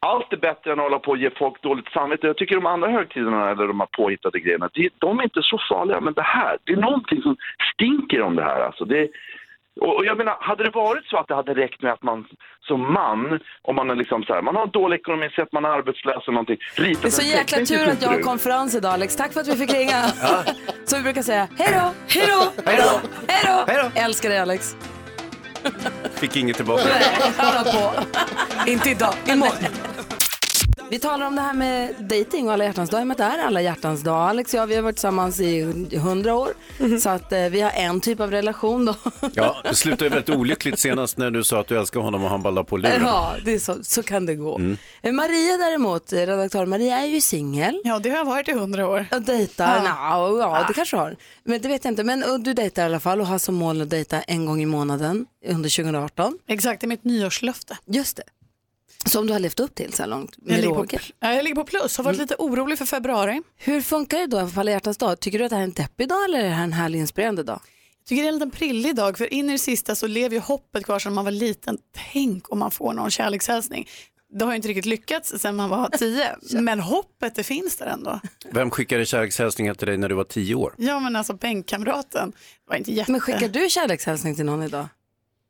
allt är bättre än att hålla på och ge folk dåligt samvete. Jag tycker de andra högtiderna, eller de här påhittade grejerna, det, de är inte så farliga. Men det här, det är någonting som stinker om det här. Alltså, det, och, och jag menar, hade det varit så att det hade räckt med att man som man, om man är liksom så här, man har dålig ekonomi, säger att man är arbetslös eller någonting, ritar Det är så jäkla tur att jag har konferens idag Alex. Tack för att vi fick ringa. [laughs] Som vi brukar säga, hej då, hej då, [laughs] hej då, hej Hej då. Älskar dig Alex. Fick inget tillbaka. Han var på. inte idag, imorgon. Vi talar om det här med dating och alla hjärtans dag. i och med att Det är alla hjärtans dag. Alex och jag vi har varit tillsammans i hundra år. Så att eh, vi har en typ av relation då. Ja, det slutade ju väldigt olyckligt senast när du sa att du älskar honom och han ballade på [laughs] luren. Mm. ja, det är så, så kan det gå. Eh, Maria däremot, eh, redaktör Maria är ju singel. Ja, det har jag varit i hundra år. Ah. Och dejtar, ja. ja det kanske du har. Men det vet jag inte. Men och du dejtar i alla fall och har som mål att dejta en gång i månaden under 2018. Exakt, det är mitt nyårslöfte. Just det. Som du har levt upp till så här långt Jag med ligger, på, råge. ja, jag ligger på plus, har varit lite orolig för februari. Hur funkar det då för alla hjärtans dag? Tycker du att det här är en deppig dag eller är det här en härlig inspirerande dag? Jag tycker det är en liten prillig dag, för in i det sista så lever ju hoppet kvar sedan man var liten. Tänk om man får någon kärlekshälsning. Det har ju inte riktigt lyckats sedan man [laughs] var tio, men hoppet det finns där ändå. Vem skickade kärlekshälsningar till dig när du var tio år? Ja men alltså bänkkamraten det var inte jätte... Men skickar du kärlekshälsning till någon idag?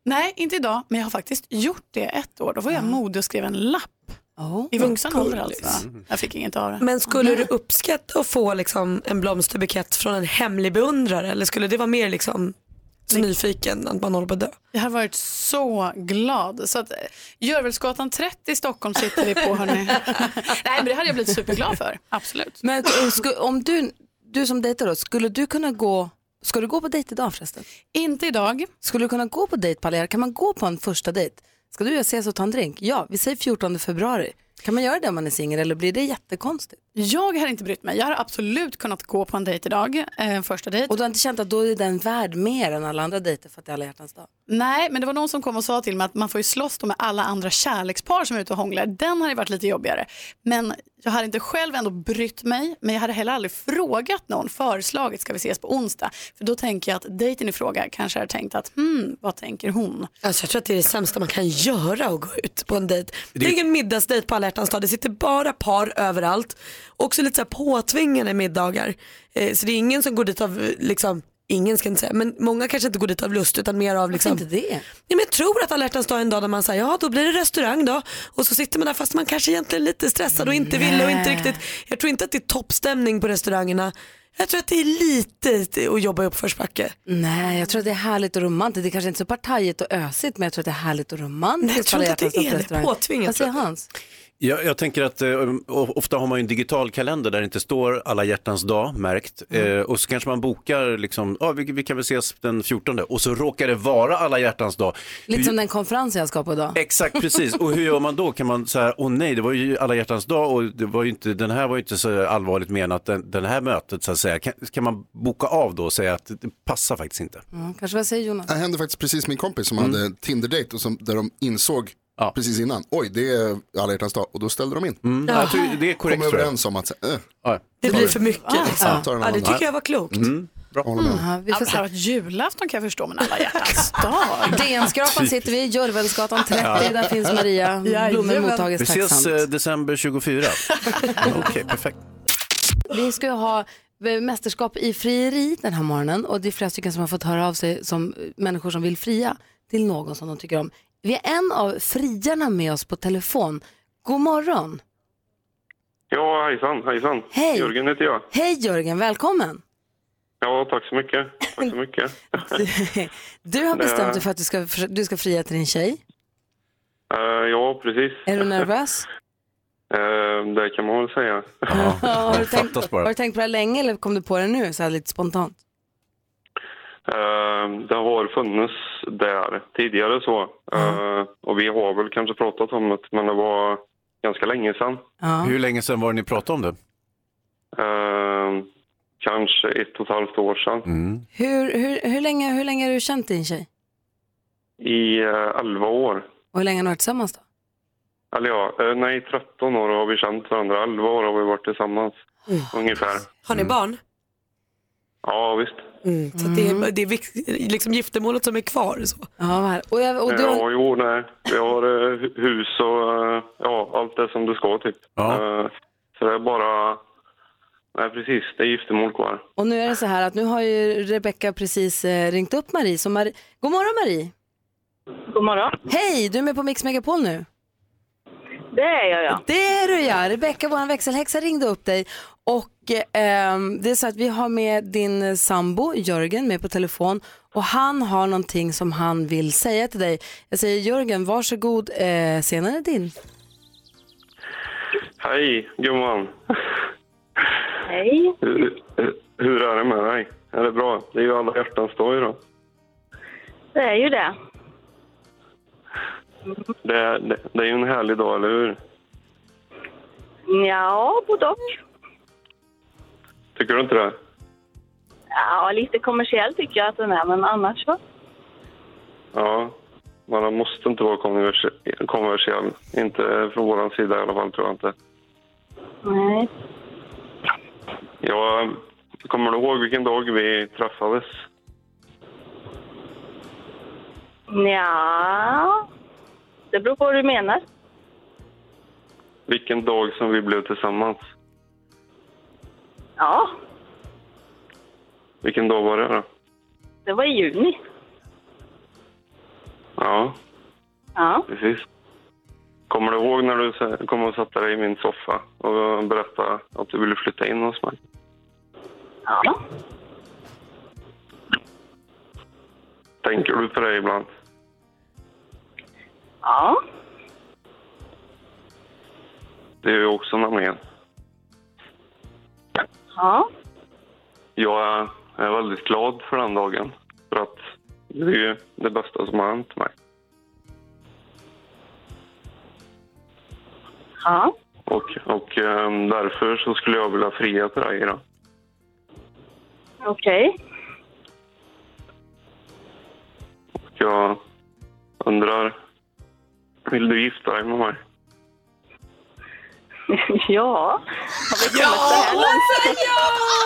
Nej, inte idag, men jag har faktiskt gjort det ett år. Då var jag modig och skrev en lapp. Oh, I vuxen ålder alltså. Jag fick inget av det. Men skulle du uppskatta att få liksom, en blomsterbukett från en hemlig beundrare eller skulle det vara mer liksom, så nyfiken att man håller på att dö? Jag har varit så glad. Så att, eh, Görvelsgatan 30 i Stockholm sitter vi på [laughs] hörni. Nej men det hade jag blivit superglad för, absolut. Men eh, sku- om du, du som dejtar då, skulle du kunna gå, ska du gå på dejt idag förresten? Inte idag. Skulle du kunna gå på dejt Palle? Kan man gå på en första dejt? Ska du och jag ses och ta en drink? Ja, vi säger 14 februari. Kan man göra det om man är singel eller blir det jättekonstigt? Jag hade inte brytt mig. Jag hade absolut kunnat gå på en dejt idag, eh, första dejt. Och du har inte känt att då är den värd mer än alla andra dejter för att det är alla hjärtans dag? Nej, men det var någon som kom och sa till mig att man får ju slåss då med alla andra kärlekspar som är ute och hånglar. Den hade ju varit lite jobbigare. Men jag hade inte själv ändå brytt mig, men jag hade heller aldrig frågat någon, föreslagit ska vi ses på onsdag? För då tänker jag att dejten i fråga kanske har tänkt att hmm, vad tänker hon? Alltså jag tror att det är det sämsta man kan göra att gå ut på en dejt. Det är ingen middagsdejt på alla hjärtans dag, det sitter bara par överallt. Också lite så här påtvingade middagar. Eh, så det är ingen som går dit av, eh, liksom, ingen ska jag inte säga, men många kanske inte går dit av lust utan mer av liksom. inte det? Nej, men jag tror att alla hjärtans dag är en dag där man säger ja då blir det restaurang då. Och så sitter man där fast man kanske egentligen är lite stressad och inte vill och inte riktigt. Jag tror inte att det är toppstämning på restaurangerna. Jag tror att det är lite att jobba i uppförsbacke. Nej, jag tror att det är härligt och romantiskt. Det är kanske inte så partajigt och ösigt, men jag tror att det är härligt och romantiskt. Nej, jag tror Alla inte att det hjärtans dag på är det. restaurang. Påtvingat, Vad säger tror jag. Hans? Jag, jag tänker att eh, o- ofta har man ju en digital kalender där det inte står alla hjärtans dag märkt Mm. eh, och så kanske man bokar liksom, ah, vi, vi kan väl ses den 14 och så råkar det vara alla hjärtans dag. Lite Hur- som den konferensen jag ska på idag. Exakt, precis. Och hur gör man då? Kan man säga, åh nej, det var ju alla hjärtans dag och det var ju inte, den här var ju inte så allvarligt menat, den, den här mötet så att säga. Kan, kan man boka av då och säga att det passar faktiskt inte? Mm, kanske vad säger Jonas? Det hände faktiskt precis min kompis som Mm. hade en Tinder-date och som, där de insåg precis innan, oj det är alla hjärtans dag och då ställde de in. Mm. Ja, jag tror det är korrekt, Kom tror jag. överens om att, äh, Ja. Mm. Det blir för mycket. alltså. Liksom. Ja. Ta den Ja, det andra. tycker jag var klokt. håller med. Ja, vi Ja, får men det se. här var ett julafton kan jag förstå, men alla hjärtans [laughs] dag. DN-skrapan sitter vi i, [laughs] Görvelsgatan 30, där finns Maria. Blommor Jajamän. mottages Vi ses eh, tacksamt. december 24. Okej, perfekt. Vi ska ju ha eh, mästerskap i frieri den här morgonen och det är flera stycken som har fått höra av sig som eh, människor som vill fria till någon som de tycker om. Vi har en av friarna med oss på telefon. God morgon! Ja, hejsan, hejsan. Hej. Jörgen heter jag. Hej Jörgen, välkommen! [laughs] Ja, tack så mycket. [laughs] Tack så mycket. Du har bestämt dig för att du ska, du ska fria till din tjej. Eh, ja, precis. Är du nervös? Eh, det kan man väl säga. har, du fattas tänkt, bara. har du tänkt på det här länge eller kom du på det nu så här lite spontant? Eh, det har funnits där tidigare så. Eh, Och vi har väl kanske pratat om det, men det var ganska länge sedan. Ja. Hur länge sedan var det ni pratade om det? Eh, kanske ett och ett halvt år sedan. Mm. Hur, hur, hur, länge, hur länge har du känt din tjej? I eh, 11 år. Och hur länge har ni varit tillsammans då? Eller ja, eh, nej, 13 år har vi känt varandra. 11 år har vi varit tillsammans, ungefär. Har ni barn? Ja, visst. Mm. Så att det är, det är vik- liksom giftermålet som är kvar. Så. Ja, vad här- och, jag, och du har, Ja, Eh, jo, nej. Vi har eh, hu- hus och eh, ja, allt det som du ska typ. Ja. Eh, så det är bara... Nej, precis. Det är giftermål kvar. Och nu är det så här att nu har ju Rebecka precis eh, ringt upp Marie. Så Marie... God morgon Marie! God morgon. Hej, du är med på Mix Megapol nu. Det är jag, ja. Det är du ja! Rebecka, vår växelhäxa, ringde upp dig. Och eh, ehm, det är så att vi har med din sambo Jörgen med på telefon och han har någonting som han vill säga till dig. Jag säger Jörgen, varsågod, eh, scenen är din. Hej, gumman. Hej. Hur, hur- hur är det med dig? Är det bra? Det är ju alla hjärtans dag idag. Det är ju det. Det, är- det, det är ju en härlig dag, eller hur? Ja, både och. Tycker du inte det? Ja, lite kommersiell tycker jag att den är, men annars så. Ja. Man måste inte vara konvers- konversiell. Inte från vår sida i alla fall, tror jag inte. Nej. Jag kommer du ihåg vilken dag vi träffades? Ja. Det beror på vad du menar. vilken dag som vi blev tillsammans. Ja, Vilken dag var det då? det var i juni. Ja, Ja. precis. Kommer du ihåg när du sa- kom och satte dig i min soffa och berättade att du ville flytta in hos mig? Ja. Tänker du på det ibland? Ja. Det är ju också nämligen. Ja. Jag är- är väldigt glad för den dagen. För att det är ju det bästa som har hänt mig. Ja. Och, och ehm, därför så skulle jag vilja fria till dig idag. Okej. Och jag undrar, vill du gifta dig med mig? [laughs] ja. Har vi kommit så här långt?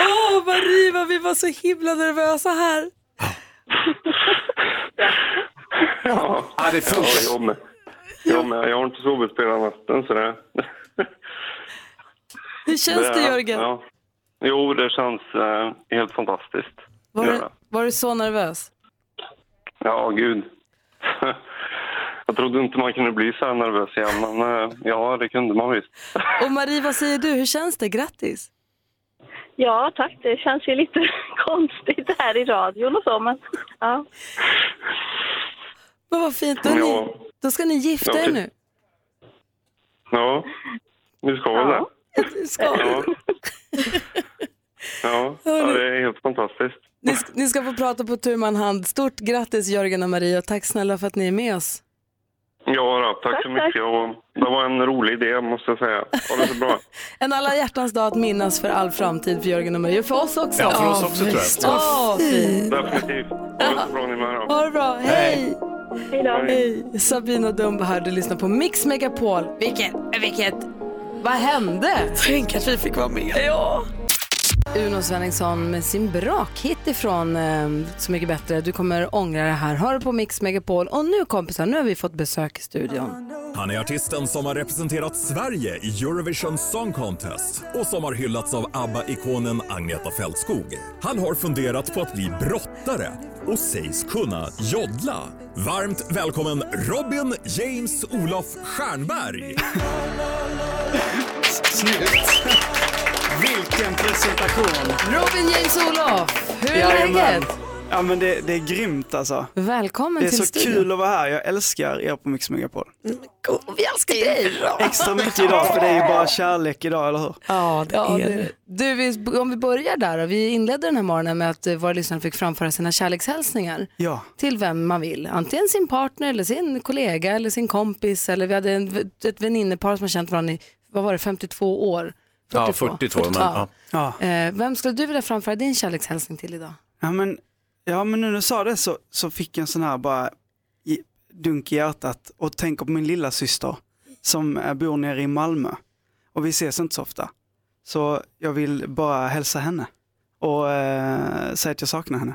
Åh, Marie, vad vi var så himla nervösa här. Ja, det funkar. Ja, jag med. Jag, med. jag har inte sovit på hela natten så det... Hur känns det är- Jörgen? Ja. Jo, det känns eh, helt fantastiskt. Var, Det gör du, det. var du så nervös? Ja, gud. [laughs] Jag trodde inte man kunde bli så här nervös igen, men eh, ja, det kunde man visst. Och Marie, vad säger du? Hur känns det? Grattis! Ja, tack. Det känns ju lite [laughs] konstigt här i radion och så, men ja. Men vad fint, då, är ni, då ska ni gifta Ja, er precis. nu. Ja, vi ska väl det. Ska. Ja. Ja. ja, det är helt fantastiskt. Ni, sk- ni ska få prata på tu man hand. Stort grattis Jörgen och Marie och tack snälla för att ni är med oss. Ja, då, tack, Tack, så tack. mycket. Och det var en rolig idé, måste jag säga. Ha det så bra. En alla hjärtans dag att minnas för all framtid för Jörgen och Marie och för oss också. Ja, för oss också, tror jag. visst. Åh, fint. Definitivt. Ha det så bra ni med. då. Ha det bra, hej! Hej! Sabina Dumba här, du lyssnar på Mix Megapol. Vilket, vilket, vad hände? Tänk att vi fick vara med. Ja! Uno Svenningsson med sin brakhit ifrån eh, Så mycket bättre. Du kommer ångra det här. Hör på Mix Megapol. Och nu kompisar, nu har vi fått besök i studion. Han är artisten som har representerat Sverige i Eurovision Song Contest och som har hyllats av ABBA-ikonen Agneta Fältskog. Han har funderat på att bli brottare och sägs kunna joddla. Varmt välkommen Robin James Olof Stjernberg! Snyggt! Vilken presentation! Robin James Olof, hur är Jajamän. läget? Ja men det, det är grymt alltså. Välkommen Det är till så studion. kul att vara här. Jag älskar er på Mix Megapol. Vi älskar dig! Extra mycket idag för det är ju bara kärlek idag, eller hur? Ja, det Ja, är du, du, vi, om vi börjar där då. Vi inledde den här morgonen med att eh, våra lyssnare fick framföra sina kärlekshälsningar Ja. till vem man vill. Antingen sin partner eller sin kollega eller sin kompis. Eller vi hade en, ett väninnepar som har känt varandra i, vad var det, 52 år? Ja, 42, men, ja. Ja. Eh, vem skulle du vilja framföra din kärlekshälsning till idag? Ja men, ja, men nu när du sa det så, så fick jag en sån här bara i- dunk i hjärtat och tänker på min lilla syster som eh, bor nere i Malmö och vi ses inte så ofta. Så jag vill bara hälsa henne och eh, säga att jag saknar henne.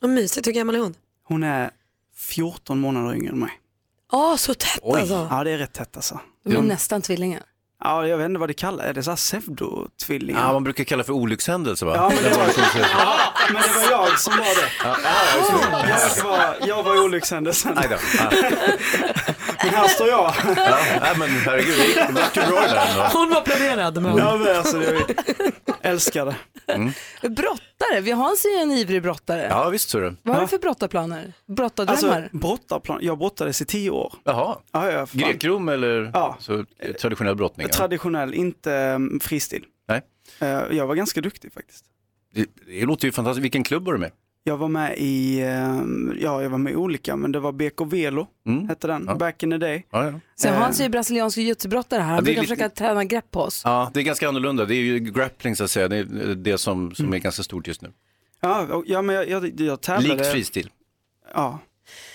Vad mysigt, hur gammal är hon? Hon är 14 månader yngre än mig. Ja, så tätt alltså. Ja det är rätt tätt alltså. De är Ja. nästan tvillingar. Ja, jag vet inte vad det kallas, är det så här pseudotvillingar? Ja, man brukar kalla för olyckshändelse va? Ja, men det var- liksom Ja, men det var jag som var det. Jag var, jag var olyckshändelsen. Aj då. Ja. [laughs] Men här står jag. Ja, nej, men herregud, det gick- det vart ju bra det där ändå. Hon var planerad men Ja, men alltså, jag älskar det. Brottare, vi har en, en ivrig brottare. Mm. Ja, visst ser du. Vad har du för brottarplaner? Brottardrömmar? Alltså, brottarplan, jag brottades i tio år. Jaha. Ja, ja, fan. Grekrom eller så, eh, traditionell brottning? ja. Traditionell, inte mm, fristil. Nej. Eh, Jag var ganska duktig faktiskt. Det, det låter ju fantastiskt. Vilken klubb var du med? Jag var med i, eh, ja jag var med i olika, men det var BK Velo, Mm. hette den, back in the day. Så Eh, Hans är ju brasiliansk jujutsu-brottare här. Han Ja, det är brukar lite- försöka träna grepp på oss. Ja, det är ganska annorlunda. Det är ju grappling så att säga. Det är det som, som är ganska stort just nu. Ja, och- ja men jag, jag, jag tävlade. Likt fristil. Ja.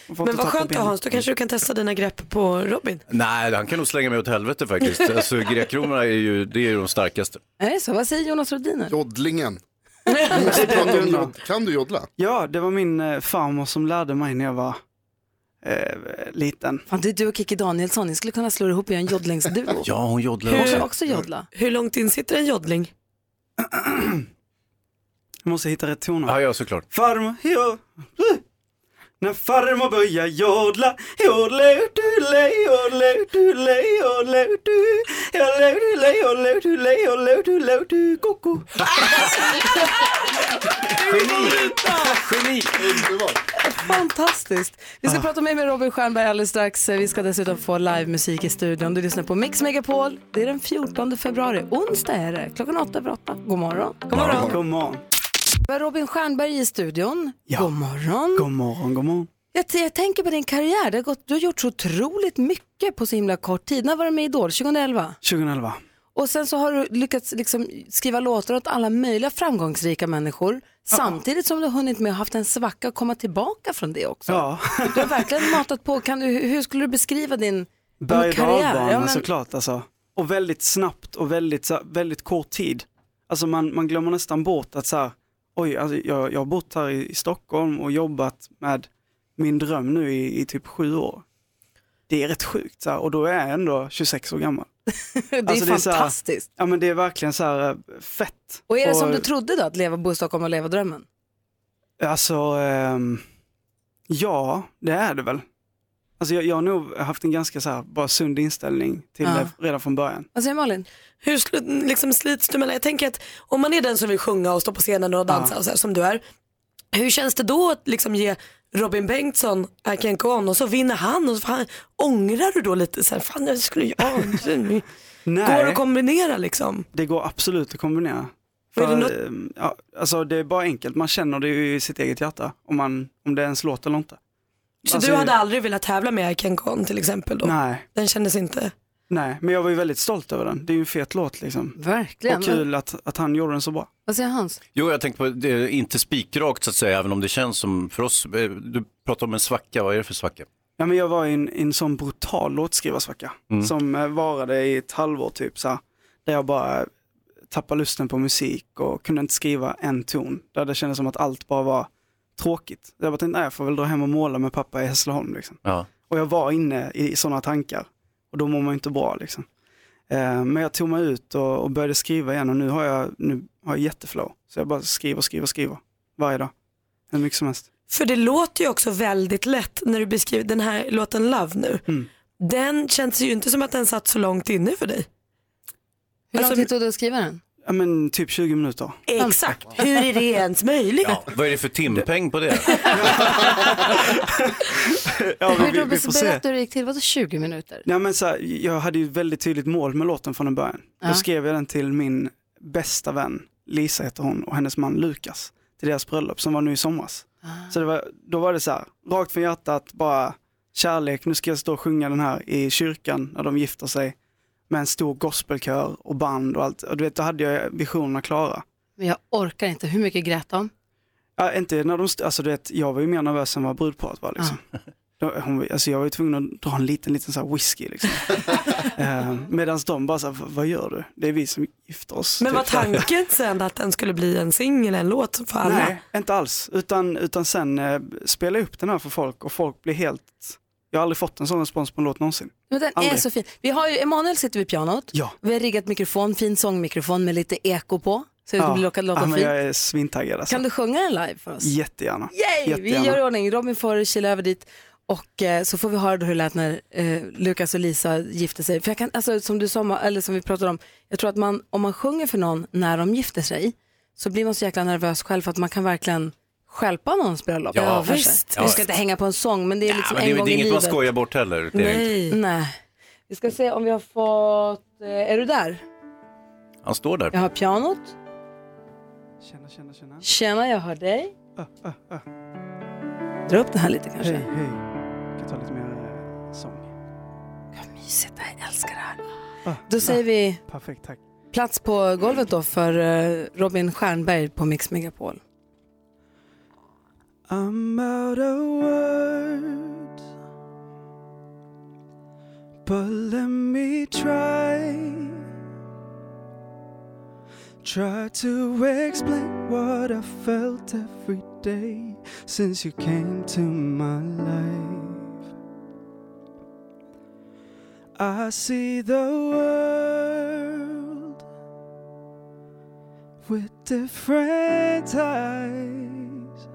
Och fått Men att vad tappa skönt då benen. Hans, då kanske du kan testa dina grepp på Robin. Nej, han kan nog slänga mig åt helvete [laughs] faktiskt. Alltså grekromarna är ju, det är ju de starkaste. Är det så? Vad säger Jonas Rhodiner? [laughs] Joddlingen. Det är Kan det du enda. jod- Kan du joddla? Ja, det var min eh, farmor som lärde mig när jag var eh, liten. Fan, det är du och Kikki Danielsson, ni skulle kunna slå er ihop och göra en joddlingsduo. Ja, hon joddlar Hon också. kan också joddla. Hur långt in sitter en joddling? Jag måste hitta rätt toner. Ja, ja såklart. Farmor, jo. När farmor börjar jodla, jodle, dule, jodle, dule, jodle, du, jodle, dule, jodle, dule, jodle, dule, du, koko. Geni! Geni! Fantastiskt. Vi ska prata mer med Robin Stjernberg alldeles strax. Vi ska dessutom få livemusik i studion. Du lyssnar på Mix Megapol. Det är den 14 februari. Onsdag är det. Klockan åtta över åtta. God morgon. God morgon. God morgon. Vi har Robin Stjernberg i studion. Ja. God morgon. God morgon, god morgon. Jag, t- jag tänker på din karriär. Det har gått, du har gjort så otroligt mycket på så himla kort tid. När var du med i Idol? 2011? 2011. Och sen så har du lyckats liksom skriva låtar åt alla möjliga framgångsrika människor samtidigt som du har hunnit med att haft en svacka och komma tillbaka från det också. Ja. Du har verkligen matat på. Kan du, hur hur skulle du beskriva din din Berg och karriär? dalbana Ja, men- såklart alltså. Och väldigt snabbt och väldigt, så, här, väldigt kort tid. Alltså man, man glömmer nästan bort att så här, oj, alltså jag, jag har bott här i, i Stockholm och jobbat med min dröm nu i, i typ sju år. Det är rätt sjukt så här, och då är jag ändå 26 år gammal. [laughs] det är Alltså, så här- fantastiskt. ja men det är verkligen så här eh, fett. och är det som du trodde då, att leva bo i Stockholm och leva drömmen? Alltså, ehm, ja, det är det väl. Alltså jag, jag har nog haft en ganska så här, bara sund inställning till Ja. det redan från början. Vad säger Malin? Hur skulle, liksom, slits du mellan, jag tänker att om man är den som vill sjunga och stå på scenen och dansa Ja. och så här, som du är, hur känns det då att liksom, ge Robin Bengtsson I can go on och så vinner han och så fan, ångrar du då lite så här, fan jag skulle ju, ja, Nej. går det att kombinera liksom? Det går absolut att kombinera. Men är det För, något- ehm, ja, alltså det är bara enkelt, man känner det ju i sitt eget hjärta om, man, om det ens låter eller inte. Så Alltså, du hade aldrig velat tävla med I can go on till exempel då? Nej. Den kändes inte? Nej, men jag var ju väldigt stolt över den. Det är ju en fet låt liksom. Verkligen. Och kul att, att han gjorde den så bra. Vad säger Hans? Jo, jag tänkte på, det är inte spikrakt så att säga, även om det känns som för oss. eh, Du pratar om en svacka, vad är det för svacka? Ja, men jag var i en, i en sån brutal låtskrivarsvacka Mm. som eh, varade i ett halvår typ så här, där jag bara eh, tappade lusten på musik och kunde inte skriva en ton. Där det kändes som att allt bara var tråkigt. Jag bara tänkte, nej, jag får väl dra hem och måla med pappa i Hässleholm liksom. Ja. Och jag var inne i sådana tankar och då mår man ju inte bra liksom. Eh, Men jag tog mig ut och, och började skriva igen och nu har jag, nu har jag jätteflow. Så jag bara skriver, skriver, skriver varje dag. Hur mycket som helst. För det låter ju också väldigt lätt när du beskriver den här låten Love nu. Mm. Den känns ju inte som att den satt så långt inne för dig. Hur lång Alltså- tid tog det att skriva den? Ja men typ 20 minuter. Exakt, hur är det ens möjligt? Vad är det för timpeng [laughs] på det? Ja, men Hur Robin, så berätta hur det gick till. Vadå 20 minuter? Nej, men så här, jag hade ju ett väldigt tydligt mål med låten från en början. Ja. Då skrev jag den till min bästa vän, Lisa heter hon, och hennes man Lukas, till deras bröllop som var nu i somras. Ah. Så det var, då var det så här, rakt från hjärtat, bara kärlek, nu ska jag stå och sjunga den här i kyrkan när de gifter sig med en stor gospelkör och band och allt. Och du vet, då hade jag visionerna klara. Men jag orkar inte. Hur mycket grät de? Ja, inte när de, st- alltså du vet, jag var ju mer nervös än vad brudparet var liksom. [laughs] Då- Hon, alltså jag var ju tvungen att dra en liten, liten så här whisky liksom. eh, Medan de bara så här, "Vad- vad gör du? Det är vi som gifter oss. Men typ. var tanken sen att den skulle bli en singel, en låt för alla? Nej, inte alls. Utan, utan sen eh, spela upp den här för folk och folk blir helt, jag har aldrig fått en sån respons på en låt någonsin. Men den är Aldrig. så fin. Vi har ju, Emanuel sitter vid pianot. Ja. Vi har riggat mikrofon, fin sångmikrofon med lite eko på. Så det Ja. blir låta ja, låta men fint. jag är svintaggad alltså. Kan du sjunga den live för oss? Jättegärna. Yay! Vi Jättegärna. gör i ordning. Robin får kila över dit och eh, så får vi höra då hur det lät när eh, Lukas och Lisa gifte sig. För jag kan, alltså, som du sa, Ma- eller som vi pratade om, jag tror att man, om man sjunger för någon när de gifter sig så blir man så jäkla nervös själv för att man kan verkligen stjälpa någons bröllop. Ja, för sig. visst. Vi ska inte hänga på en sång men det är liksom men det, en är- gång det är i inget man livet. skojar bort heller. Det är det inte. Nej. Vi ska se om vi har fått, eh, är du där? Han står där. Jag har pianot. Tjena, tjena, tjena. Tjena, jag hör dig. Uh, uh, uh. Dra upp den här lite kanske. Hej, hej. Kan jag ta lite mer eh, sång? Mysigt, jag älskar det här. Ah, Då säger vi Perfekt, tack. plats på golvet då för eh, Robin Stjernberg på Mix Megapol. I'm out of words, but let me try. Try to explain what I felt every day since you came to my life. I see the world with different eyes.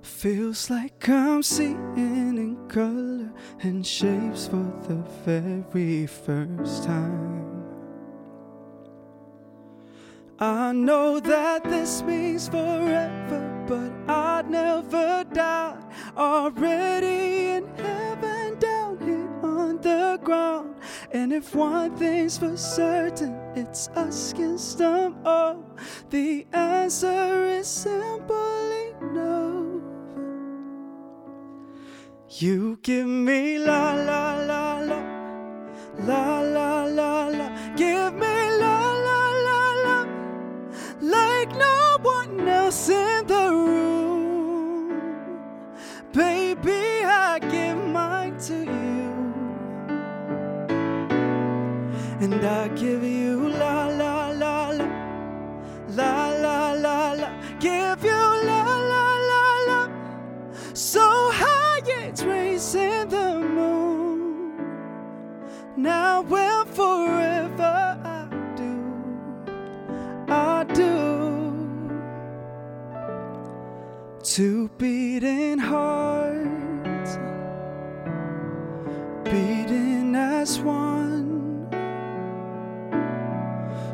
Feels like I'm seeing in color and shapes for the very first time. I know that this means forever, but I never died. Already in heaven, down here on the ground. And if one thing's for certain, it's us against them all. The answer is simply no. You give me la la la la. La la la la, give me la la la la, like no one else in the room. Baby, I give mine to you, and I give you la la la la, la la la la, give you la la la la, so high it's raising the moon. Now and forever I do, I do. Two beating hearts, beating as one.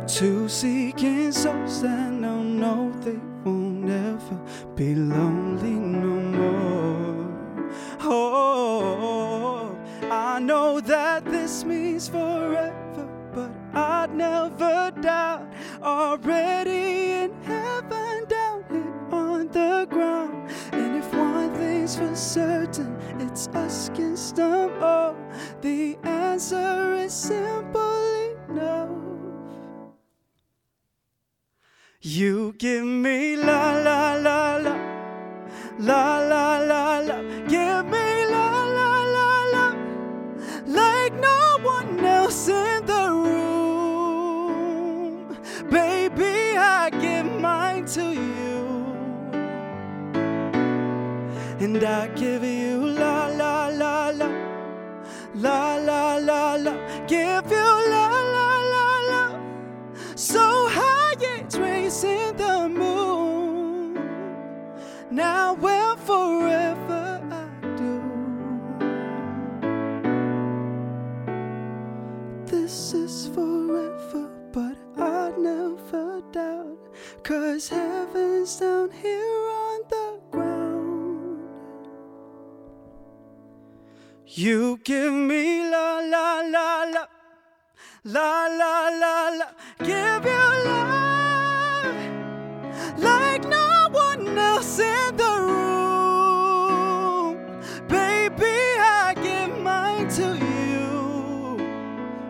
Two seeking souls that no, no, they won't ever be lonely no more. Oh, I know that this means forever, but I'd never doubt. Already in heaven, down here on the ground. And if one thing's for certain, it's us against them all. The answer is simply no. You give me la la la la, la la la la, give me la la la la, like no one else in the room. Baby, I give mine to you, and I give you la la la la, la la la la, give you la la la la. So high it's raising the moon. Now and forever I do. This is forever, but I never doubt. Cause heaven's down here on the ground. You give me la la la la. La la la la, give you love like no one else in the room. Baby, I give mine to you.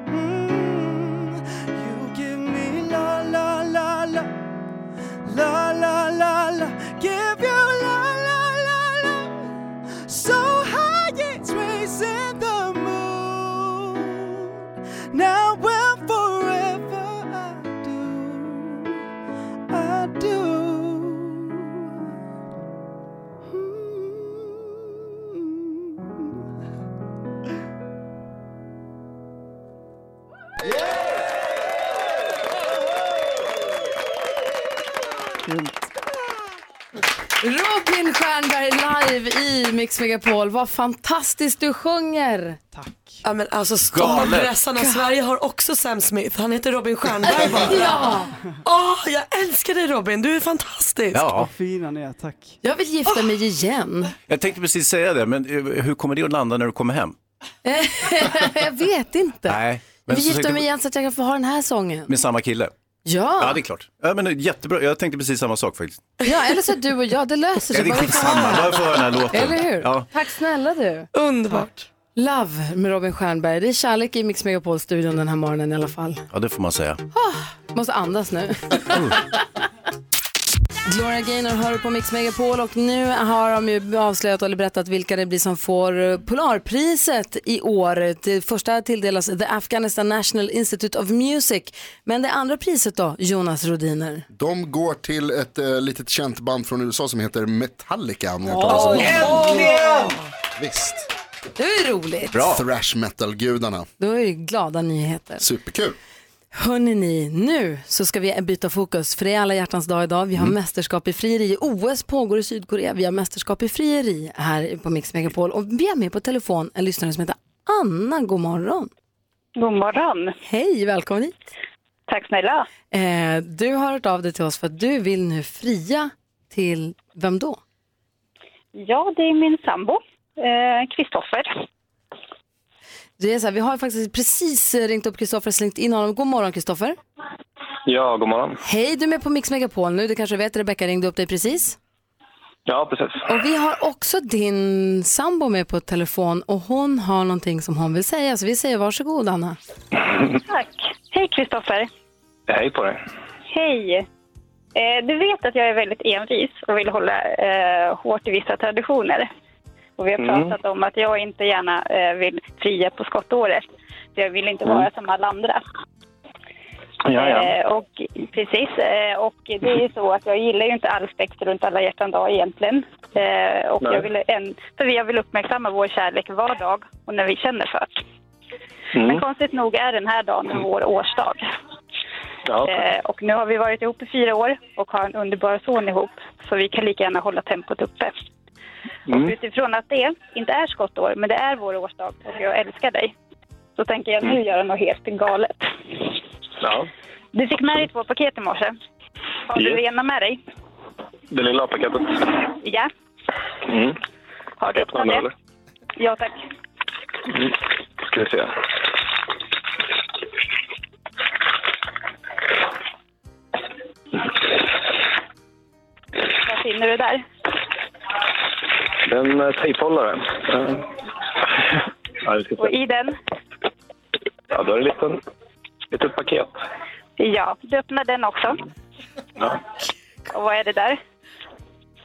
Mm, You give me la la la la, la la la la, give you la la la la, so high it's raising the moon. Now and forever I do, I do. Hmm. Robin Stjernberg live i Mix Megapol. Vad fantastiskt du sjunger. Tack. Ja men alltså Galet. stormpressarna Sverige har också Sam Smith. Han heter Robin Stjernberg bara. Ja. Åh, jag älskar dig Robin, du är fantastisk. Ja. Vad fina ni är, tack. Jag vill gifta mig igen. Jag tänkte precis säga det, men eh, hur kommer det att landa när du kommer hem? [laughs] jag vet inte. Nej. Vi Men så gifter tänkte- mig igen så att jag kan få ha den här sången. Med samma kille? Ja. Ja, det är klart. Ja, men, det är jättebra, jag tänkte precis samma sak faktiskt. Ja, eller så du och jag, det löser Ja, sig. det är Bara vi får skitsamma, höra. bara vi får höra den här låten. Eller hur? Ja. Tack snälla du. Underbart. Love med Robin Stjernberg. Det är kärlek i Mix Megapol-studion den här morgonen i alla fall. Ja, det får man säga. Ah, måste andas nu. Gloria Gaynor hör på Mix Megapol och nu har de ju avslöjat eller berättat vilka det blir som får eh, Polarpriset i år. Det första tilldelas The Afghanistan National Institute of Music. Men det andra priset då, Jonas Rodiner? De går till ett eh, litet känt band från USA som heter Metallica. om ni har hört talas om Oj, dem. äntligen! Visst. Det var ju roligt. Thrash metal-gudarna. Det var ju glada nyheter. Superkul. Hörrni ni, nu så ska vi byta fokus för det är alla hjärtans dag idag. Vi har mästerskap i frieri. OS pågår i Sydkorea. Vi har mästerskap i frieri här på Mix Megapol och vi har med på telefon en lyssnare som heter Anna. God morgon. God morgon. Hej, välkommen hit. Tack snälla. Eh, du har hört av dig till oss för att du vill nu fria till vem då? Ja, det är min sambo, eh, Kristoffer. Det är så här, vi har faktiskt precis ringt upp Kristoffer och slängt in honom. God morgon Kristoffer. Ja, god morgon. Hej, du är med på Mix Megapol nu. Du kanske vet, Rebecka ringde upp dig precis. Ja, precis. Och vi har också din sambo med på telefon och hon har någonting som hon vill säga. Så vi säger varsågod Anna. [laughs] Tack. Hej Kristoffer. Hej på dig. Hej. Eh, du vet att jag är väldigt envis och vill hålla eh, hårt i vissa traditioner. Och vi har Mm. pratat om att jag inte gärna eh, vill fria på skottåret. För jag vill inte Mm. vara som alla andra. Ja, ja. Eh, och, precis. Eh, och det är ju så att jag gillar ju inte allspäkt runt alla hjärtan dag egentligen. Eh, och Nej. jag vill en, för jag vill uppmärksamma vår kärlek var dag och när vi känner för det. Men Mm. konstigt nog är den här dagen vår årsdag. Ja, Eh, och nu har vi varit ihop i fyra år och har en underbar son ihop. Så vi kan lika gärna hålla tempot uppe. Och Mm. utifrån att det inte är skottår, men det är vår årsdag och jag älskar dig. Så tänker jag nu Mm. göra något helt galet. ja. Du fick med dig två paket i morse. Har du Yes. ena med dig? Det lilla paketet. Ja. Mm. Har du öppnat det eller? Ja, tack. Mm. Ska vi se. Vad finner du där? Det är en eh, tejphållare. Eh. Ja, vi ska Och se. i den? Ja, då är det ett litet, litet paket. Ja, du öppnar den också. Ja. Och vad är det där?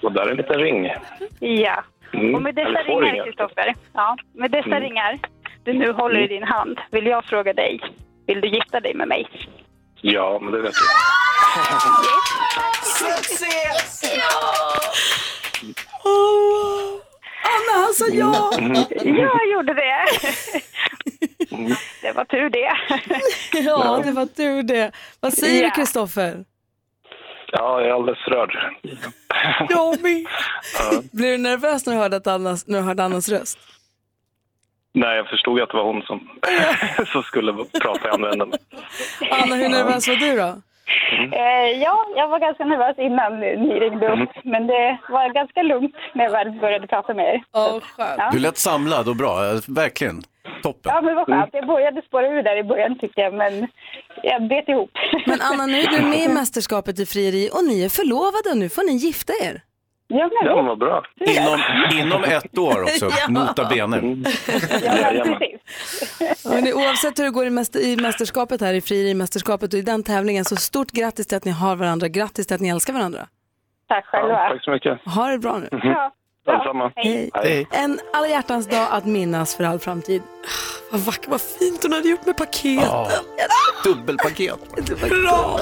Och där är en liten ring. Ja. Mm. Och med dessa Eller två ringar, ringar. Kristoffer, ja, med dessa Mm. ringar du nu håller i din hand, vill jag fråga dig, vill du gifta dig med mig? Ja, men det vet Success! Oh. Anna, han sa [laughs] ja! Jag gjorde det. Det var tur det. [laughs] Ja, det var tur det. Vad säger Ja. du Kristoffer? Ja, jag är alldeles rörd. Jag med. Ja. Blev du nervös när du hörde, att Annas, när du hörde Annas röst? Nej, jag förstod ju att det var hon som, [laughs] som skulle prata i andra änden. Anna, hur nervös var du då? Mm. Eh, ja, jag var ganska nervös innan ni ringde upp, Mm. men det var ganska lugnt när jag väl började prata med er. Oh, skönt. Du lät samlad och bra, eh, verkligen. Toppen. Ja, men vad Mm. skönt. Jag började spåra ur där i början tycker jag, men jag bet ihop. Men Anna, nu är du med i mästerskapet i frieri och ni är förlovade och nu får ni gifta er. Ja, Ja, men vad bra. Inom, inom ett år också, Ja. nota bene. Mm. Jajamän. Hörrni, oavsett hur det går i, mäster, i mästerskapet här i frierimästerskapet och i den tävlingen så stort grattis till att ni har varandra. Grattis till att ni älskar varandra. Tack Ja, tack så mycket. Ha det bra nu. Mhm. Detsamma. Hej. Hej. En alla hjärtans dag att minnas för all framtid. Ah, Vad vackert, vad fint hon hade gjort med paketen. Dubbelpaket. Bra!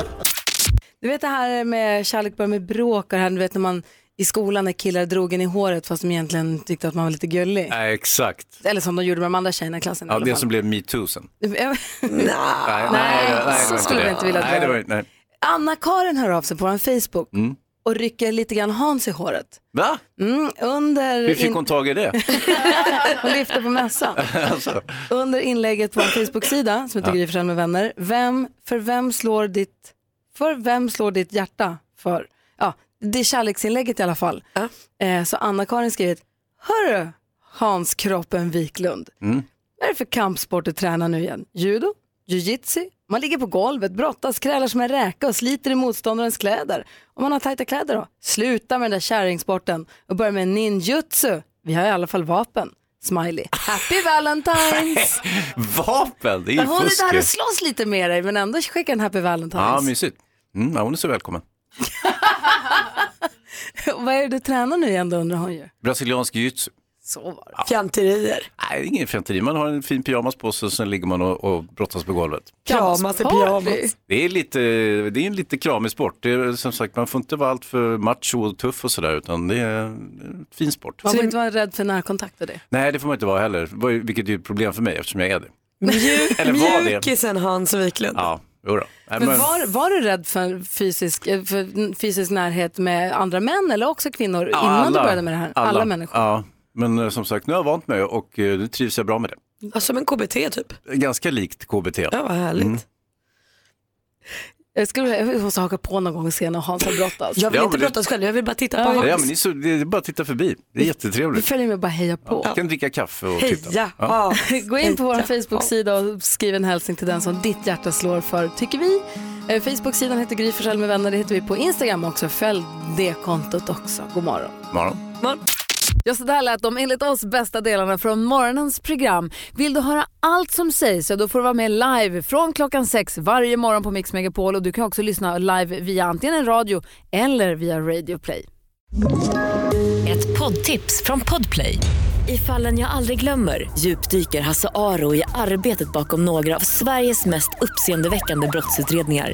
Du vet det här med kärlek börjar med bråk och det här, du vet när man i skolan när killar drog en i håret fast de egentligen tyckte att man var lite gullig. Nej, exakt. Eller som de gjorde med de andra tjejerna i klassen i Ja, alla det fall. som blev metoo sen. Nej, det- det så var skulle det. jag inte vilja Nej, dra det var det. inte- nej. [laughs] Anna-Karin hör av sig på vår Facebook Mm. och rycker lite grann Hans i håret. Va? Mm, under Hur fick in- hon tag [laughs] i det? hon lyfter på mössan. alltså, Under inlägget på vår Facebook-sida som heter Ja. Gry Forssell med vänner. Vem, för, vem slår ditt, för vem slår ditt hjärta? För, ja, det är kärleksinlägget i alla fall. Eh, så Anna-Karin skrivit, hörru Hans Kroppen Wiklund. Mm. Vad är det för kampsport du tränar nu igen? Judo? Jiu-jitsu? Man ligger på golvet, brottas, krälar som en räka och sliter i motståndarens kläder. Om man har tajta kläder då? Sluta med den där kärringsporten och börja med ninjutsu. Vi har i alla fall vapen. Smiley. Happy Valentine's! vapen, [laughs] det är Men ju hon är där och fusk. ju. slåss lite med dig men ändå skickar en Happy Ja, Valentine's. mysigt. Mm, ja, hon är så välkommen. [laughs] Vad är det du tränar nu igen då undrar hon ju. Brasiliansk jiu-jitsu. Så var det. Fjanterier. Nej, det är ingen fianteri. Man har en fin pyjamas på sig och sen ligger man och, och brottas på golvet. Kramas i pyjamas. Det är, lite, det är en lite kramig sport. Det är, som sagt, man får inte vara alltför macho och tuff och sådär, utan det är en fin sport. Man får inte vara rädd för närkontakt och det. Nej, det får man inte vara heller, Det var ju- vilket är ju ett problem för mig eftersom jag är det. Mjuk, Eller var det? mjukisen Hans Wiklund. Ja, jodå. Nej, Men men- var, var du rädd för fysisk, eh, för fysisk närhet med andra män eller också kvinnor Ja, innan du började med det här? Alla, människor. Ja, men eh, som sagt, nu har jag vant mig och eh, nu trivs jag bra med det. Ja, Som en KBT typ. Ganska likt KBT. Ja, vad härligt. Mm. Jag skulle jag måste haka på någon gång sen och Hans har brottats. Jag vill Ja, inte men det- brottas själv, jag vill bara titta Ja, men det, är så, det är bara att titta förbi. Det är Vi jättetrevligt. följer med och bara heja på. Ja, kan dricka kaffe och titta. Heja Ja. [laughs] Gå in på vår Facebook-sida och skriv en hälsning till den som ditt hjärta slår för, tycker vi. Eh, Facebook-sidan heter Gry Forssell med vänner, det heter vi på Instagram också. Följ det kontot också. God morgon. Morgon. Ja, så där lät de enligt oss bästa delarna från morgonens program. Vill du höra allt som sägs så då får du vara med live från klockan sex varje morgon på Mix Megapol och du kan också lyssna live via antingen en radio eller via Radio Play. Ett poddtips från Podplay. I fallen jag aldrig glömmer djupdyker Hasse Aro i arbetet bakom några av Sveriges mest uppseendeväckande brottsutredningar.